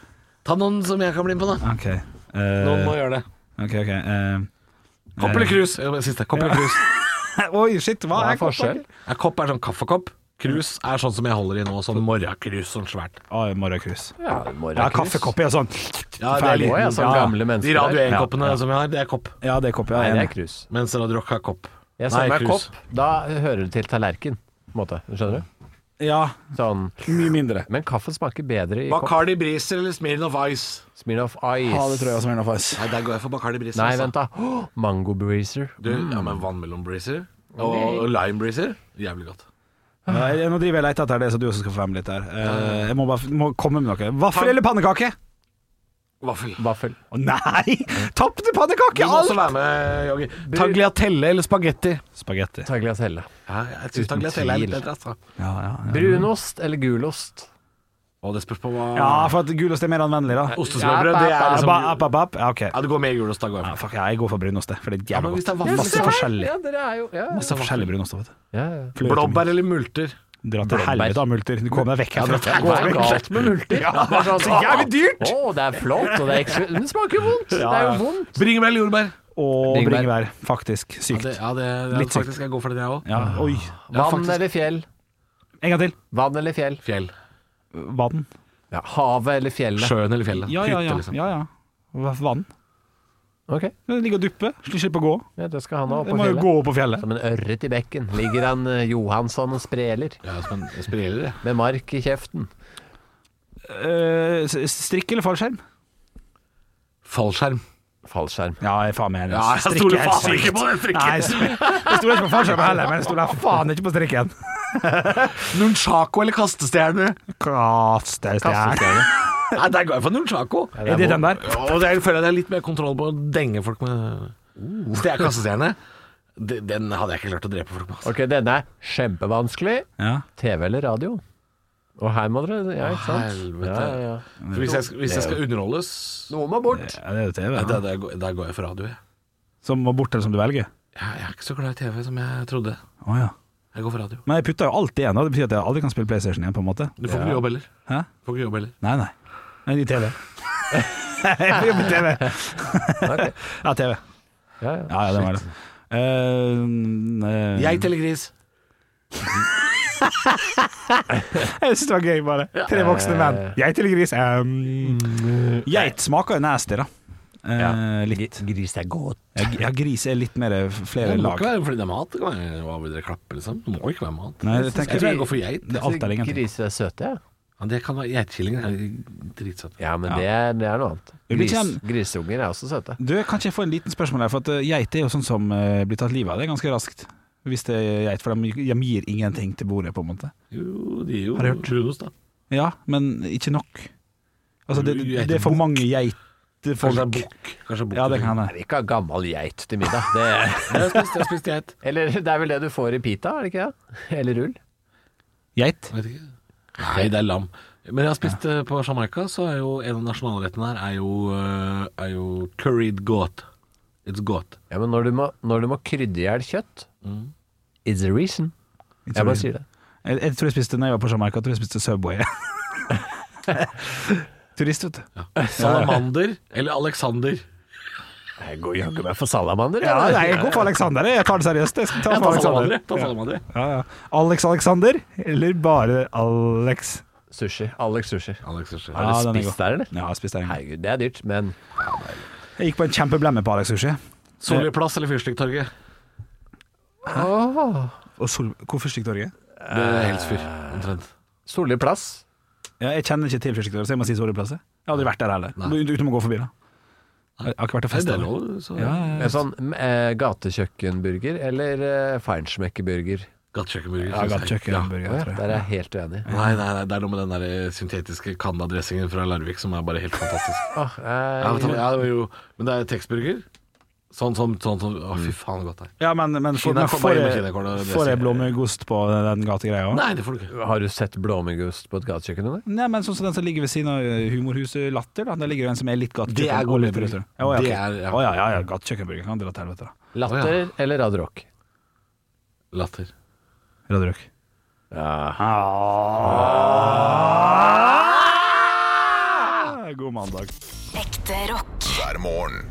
[SPEAKER 4] Ta noen som jeg kan bli med på, da.
[SPEAKER 3] Ok. Eh,
[SPEAKER 4] Noen må gjøre det.
[SPEAKER 3] ok, ok. eh,
[SPEAKER 4] Kopp eller krus? Ja, men Siste. Kopp eller krus?
[SPEAKER 3] Oi, shit, hva
[SPEAKER 5] Hva
[SPEAKER 3] er
[SPEAKER 5] er forskjell?
[SPEAKER 3] koppen?
[SPEAKER 4] Ja, kopp er sånn kaffekopp. Krus er sånn som jeg holder i nå, sånn morgenkrus, sånn svært.
[SPEAKER 3] Ah, morgenkrus.
[SPEAKER 5] Ja,
[SPEAKER 3] Ja, kaffekopp er sånn
[SPEAKER 4] Ja, det er
[SPEAKER 3] Ferdig.
[SPEAKER 4] litt,
[SPEAKER 5] Å, ja, sånn
[SPEAKER 4] ja,
[SPEAKER 5] gamle mennesker
[SPEAKER 4] De Radio
[SPEAKER 5] der.
[SPEAKER 4] 1-koppene som jeg har, det er kopp.
[SPEAKER 3] Ja, det er kopp, ja.
[SPEAKER 5] Nei,
[SPEAKER 3] jeg er
[SPEAKER 5] det
[SPEAKER 3] enig.
[SPEAKER 5] er krus.
[SPEAKER 4] Mens Radio Rock har kopp. Nei,
[SPEAKER 5] Jeg ser meg
[SPEAKER 4] krus.
[SPEAKER 5] kopp, da hører du til tallerken, på en måte. Skjønner du?
[SPEAKER 3] Ja,
[SPEAKER 5] Sånn.
[SPEAKER 3] mye mindre.
[SPEAKER 5] Men kaffe smaker bedre i kopp.
[SPEAKER 4] Bacardi Breezer eller Smirnoff Ice?
[SPEAKER 5] Smirnoff Ice.
[SPEAKER 3] Ja, det tror jeg også er noe fais.
[SPEAKER 4] Nei, Mm. der går jeg for Bacardi Breezer.
[SPEAKER 5] Nei,
[SPEAKER 4] altså.
[SPEAKER 5] vent da. Åh, Mango breezer.
[SPEAKER 4] Du, ja, men vannmelon-breezer og, og lime-breezer, jævlig godt.
[SPEAKER 3] Ja, jeg- nå driver jeg og leter etter det, så du også skal få være med litt der. Eh, Jeg må bare må komme med noe. Vaffel eller pannekake?
[SPEAKER 4] Vaffel.
[SPEAKER 5] Vaffel.
[SPEAKER 3] Å nei! Tapte pannekake!
[SPEAKER 4] Du må
[SPEAKER 3] Alt!
[SPEAKER 4] også være med, Joggi. Tagliatelle eller spagetti?
[SPEAKER 3] Spagetti.
[SPEAKER 5] Tagliatelle.
[SPEAKER 4] Ja, jeg synes
[SPEAKER 5] Uten
[SPEAKER 4] tagliatelle er litt
[SPEAKER 5] tvil.
[SPEAKER 4] bedre, altså.
[SPEAKER 3] Ja, ja, ja.
[SPEAKER 5] Brunost eller gulost?
[SPEAKER 4] Og det spørs på hva
[SPEAKER 3] ja, for at gulost er mer anvendelig, da.
[SPEAKER 4] Ostesmørbrød, det er
[SPEAKER 3] App,
[SPEAKER 4] liksom
[SPEAKER 3] app, app, app. Ja, ok.
[SPEAKER 4] Ja, det går med gulost, da går jeg
[SPEAKER 3] Ja,
[SPEAKER 4] for.
[SPEAKER 3] fuck, jeg går for brunost, det, for det er
[SPEAKER 4] Ja,
[SPEAKER 3] jævla
[SPEAKER 4] men
[SPEAKER 3] godt.
[SPEAKER 4] hvis det er vaffel,
[SPEAKER 3] Masse
[SPEAKER 4] så-
[SPEAKER 3] forskjellig.
[SPEAKER 5] Ja, dere er jo ja. ja.
[SPEAKER 3] Masse forskjellig brunost. Vet du.
[SPEAKER 5] ja.
[SPEAKER 3] Fløte-
[SPEAKER 4] Blåbær eller multer?
[SPEAKER 3] Dra til helvete av multer. Du kommer deg vekk
[SPEAKER 5] Ja,
[SPEAKER 3] herfra.
[SPEAKER 5] det er bare galt med multer. Det er sånn,
[SPEAKER 3] så jævlig dyrt.
[SPEAKER 5] Å, det er flott, og det er eksklu- Men det smaker jo vondt. Det er jo
[SPEAKER 3] ja.
[SPEAKER 5] vondt.
[SPEAKER 4] Bringebær eller jordbær?
[SPEAKER 3] Og
[SPEAKER 5] Bringebær.
[SPEAKER 3] bringebær. Faktisk. Sykt.
[SPEAKER 4] Ja, det, det
[SPEAKER 3] Litt
[SPEAKER 4] er faktisk jeg går for det, jeg òg.
[SPEAKER 3] Ja, oi.
[SPEAKER 5] Vann eller fjell?
[SPEAKER 3] En gang til.
[SPEAKER 5] Vann eller fjell?
[SPEAKER 4] Fjell.
[SPEAKER 3] Vann.
[SPEAKER 5] Havet eller fjellet?
[SPEAKER 4] Sjøen eller fjellet.
[SPEAKER 3] Ja, ja, ja.
[SPEAKER 4] Hytte, liksom.
[SPEAKER 3] ja, ja. Hva- Vann.
[SPEAKER 5] Ok,
[SPEAKER 3] Ligge og duppe. Slipp å gå.
[SPEAKER 5] ja, det skal han ha
[SPEAKER 3] Jeg
[SPEAKER 5] på
[SPEAKER 3] må jo
[SPEAKER 5] fjellet.
[SPEAKER 3] gå opp på fjellet.
[SPEAKER 5] Som en ørret i bekken ligger han eh, Johansson og spreler
[SPEAKER 4] Ja, som en spriller, jeg.
[SPEAKER 5] med mark i kjeften.
[SPEAKER 3] Eh, s- strikk eller fallskjerm?
[SPEAKER 4] Fallskjerm.
[SPEAKER 5] Fallskjerm.
[SPEAKER 3] Ja, jeg er faen meg enig.
[SPEAKER 4] Ja, jeg
[SPEAKER 3] Strikk
[SPEAKER 4] stoler
[SPEAKER 3] er
[SPEAKER 4] faen
[SPEAKER 3] sykt.
[SPEAKER 4] ikke på den strikken.
[SPEAKER 3] Nei, jeg sto- jeg stoler ikke på fallskjermen heller, men jeg stoler faen ikke på strikken.
[SPEAKER 4] Nunchako eller kastestjerne?
[SPEAKER 3] Kastestjerne.
[SPEAKER 4] Nei, der går jeg for nunchako.
[SPEAKER 3] Er det den der?
[SPEAKER 4] Og det er, føler jeg det er litt mer kontroll på å denge folk med Hvis det er kastestjerne, Uh. det- den hadde jeg ikke klart å drepe folk med. altså.
[SPEAKER 5] Ok, denne er kjempevanskelig.
[SPEAKER 3] Ja.
[SPEAKER 5] TV eller radio? Og her må dere Ja, ikke sant?
[SPEAKER 4] helvete.
[SPEAKER 5] Ja, ja, ja.
[SPEAKER 4] For Hvis jeg, hvis jeg skal underholdes
[SPEAKER 5] Noe må bort.
[SPEAKER 3] Ja, det er jo TV.
[SPEAKER 4] ja,
[SPEAKER 3] Ja.
[SPEAKER 4] der, der, går- der går jeg for radio, jeg.
[SPEAKER 3] Som må bort, eller som du velger.
[SPEAKER 4] Ja, jeg er ikke så glad i TV som jeg trodde.
[SPEAKER 3] Å, ja.
[SPEAKER 4] Jeg går for radio.
[SPEAKER 3] Men jeg putter jo alt igjen. da. Det betyr at jeg aldri kan spille PlayStation igjen, på en måte.
[SPEAKER 4] Du får ikke jobb heller.
[SPEAKER 3] Hæ?
[SPEAKER 4] Du Får ikke jobb heller.
[SPEAKER 3] Nei, nei. Men i TV. jeg får jobbe i TV. ja, TV.
[SPEAKER 5] Ja, ja.
[SPEAKER 3] Ja, ja, det var det. Eh, eh,
[SPEAKER 4] Geit eller gris?
[SPEAKER 3] jeg syns det var gøy, bare. Tre voksne menn.
[SPEAKER 5] Eh.
[SPEAKER 3] Geit eller gris? Eh, Um, geit smaker jo nasty, da. Eh, litt.
[SPEAKER 5] Gris er godt.
[SPEAKER 3] Ja, gris er litt mer eh, flere
[SPEAKER 4] Det må
[SPEAKER 3] lag.
[SPEAKER 4] ikke være fordi det er mat. Det kan være hva vil dere klappe, liksom. Det må ikke være mat.
[SPEAKER 3] Nei, det
[SPEAKER 4] Jeg
[SPEAKER 3] tenker
[SPEAKER 4] tror
[SPEAKER 3] jeg
[SPEAKER 4] jeg går for geit.
[SPEAKER 3] Det- alt eller ingenting.
[SPEAKER 5] Griser er søte, ja.
[SPEAKER 4] Ja, det kan være Geitkillinger er dritsøte.
[SPEAKER 5] Ja, men Det, er, det er noe annet.
[SPEAKER 3] Det blir
[SPEAKER 5] Gris,
[SPEAKER 3] kjem-
[SPEAKER 5] grisunger er også søte.
[SPEAKER 3] Du, kan ikke jeg få en liten spørsmål her? For at eh, geit er jo sånn som eh, blir tatt livet av det ganske raskt. Hvis det er geit, for de, de gir ingenting til bordet, på en måte.
[SPEAKER 4] Jo, de er jo
[SPEAKER 3] Har du hørt?
[SPEAKER 4] brunost, da.
[SPEAKER 3] Ja, men ikke nok. Altså, det,
[SPEAKER 4] Geiter-
[SPEAKER 3] det er for mange
[SPEAKER 4] Kanskje det er
[SPEAKER 3] geitefolk.
[SPEAKER 4] bukk. Kanskje det er bukk.
[SPEAKER 3] Ja, det kan hende.
[SPEAKER 5] Jeg vil ikke ha gammel geit til middag. Det,
[SPEAKER 4] Jeg har spist, jeg har spist geit.
[SPEAKER 5] eller det er vel det du får i pita, er det ikke det? Eller rull?
[SPEAKER 3] Geit?
[SPEAKER 4] Jeg Vet ikke. Nei, det er lam. Men jeg har spist eh, på Jamaica, så er jo en av nasjonalrettene her er jo, eh, er jo curried goat. It's goat.
[SPEAKER 5] Ja, men når du må, når du må krydde i hjel kjøtt It's Mm. a reason. Jeg bare sier det.
[SPEAKER 3] Jeg, jeg tror jeg spiste når jeg var på Jamaica, jeg tror jeg spiste Subway. Turist, vet du.
[SPEAKER 4] Salamander eller Alexander.
[SPEAKER 5] Jeg går jaggu meg for salamander.
[SPEAKER 3] Ja,
[SPEAKER 5] jeg.
[SPEAKER 3] nei, jeg går for Alexander. jeg. Jeg tar det seriøst. Jeg skal ta
[SPEAKER 4] Jeg
[SPEAKER 3] for
[SPEAKER 4] tar salamander.
[SPEAKER 3] Alexander.
[SPEAKER 4] jeg. Ta salamander. jeg.
[SPEAKER 3] Ja, ja. Alex Alexander, eller bare Alex?
[SPEAKER 5] Sushi. Alex Sushi.
[SPEAKER 4] Alex Sushi.
[SPEAKER 5] Har
[SPEAKER 3] Ja,
[SPEAKER 5] du
[SPEAKER 3] den er
[SPEAKER 5] spist
[SPEAKER 3] god.
[SPEAKER 5] der, eller?
[SPEAKER 3] Ja, jeg spiste den.
[SPEAKER 5] Herregud, det er dyrt, men
[SPEAKER 3] Jeg gikk på en kjempeblemme på Alex Sushi.
[SPEAKER 4] Solli plass eller Fyrstikktorget?
[SPEAKER 3] Og Sol Hvor Fyrstikktorget?
[SPEAKER 4] Det er Helsfyr, omtrent.
[SPEAKER 5] Solli plass.
[SPEAKER 3] Ja, jeg kjenner ikke til Fyrstikktorget, så jeg må si Soliplasset. Jeg har aldri vært der heller.
[SPEAKER 4] Nei.
[SPEAKER 3] Du, du må gå forbi, da. Jeg har ikke vært og
[SPEAKER 4] Nei, det
[SPEAKER 3] festa.
[SPEAKER 4] er lov, så
[SPEAKER 3] Ja, ja, ja.
[SPEAKER 5] En sånn mm, eh, gatekjøkkenburger eller eh, Feinschmeckerburger.
[SPEAKER 4] Gattekjøkkenburger.
[SPEAKER 3] Ja,
[SPEAKER 4] synes jeg.
[SPEAKER 3] Gattkjøkkenburger,
[SPEAKER 5] Å ja,
[SPEAKER 3] tror jeg.
[SPEAKER 5] der er jeg helt uenig.
[SPEAKER 4] Ja. Nei, nei, nei, det er noe med den der eh, syntetiske Canada-dressingen fra Larvik som er bare helt fantastisk.
[SPEAKER 5] Åh,
[SPEAKER 4] Ja, men,
[SPEAKER 5] eh,
[SPEAKER 4] ja, det var jo, men det er Texburger. Sånn som sånn, sånn, Å, fy faen, godt det er.
[SPEAKER 3] Ja, men, men, får-
[SPEAKER 4] Kina
[SPEAKER 3] men
[SPEAKER 4] kommer
[SPEAKER 3] får,
[SPEAKER 4] inn med
[SPEAKER 3] jeg,
[SPEAKER 4] kinakål og det
[SPEAKER 3] får jeg
[SPEAKER 4] sier-
[SPEAKER 3] blåmuggost på den gategreia òg?
[SPEAKER 4] Nei, det får du ikke.
[SPEAKER 5] har du sett blåmuggost på et gatekjøkken? Eller?
[SPEAKER 3] Nei, men sånn som den som ligger ved siden av Humorhuset Latter, da. Der ligger jo en som er litt gatekjøkken.
[SPEAKER 4] Det er
[SPEAKER 3] og litt
[SPEAKER 4] gatekjøkken.
[SPEAKER 3] restaurant. Ja, å, ja,
[SPEAKER 4] Det
[SPEAKER 3] ok.
[SPEAKER 4] er- ja.
[SPEAKER 3] Å, ja, ja, ja. Gatekjøkkenburger kan dra til helvete, da.
[SPEAKER 5] Latter
[SPEAKER 4] Å,
[SPEAKER 5] eller Radio Rock?
[SPEAKER 4] Latter.
[SPEAKER 3] Rødrøk. Ah, God mandag.
[SPEAKER 2] Ekte rock.
[SPEAKER 1] hver morgen.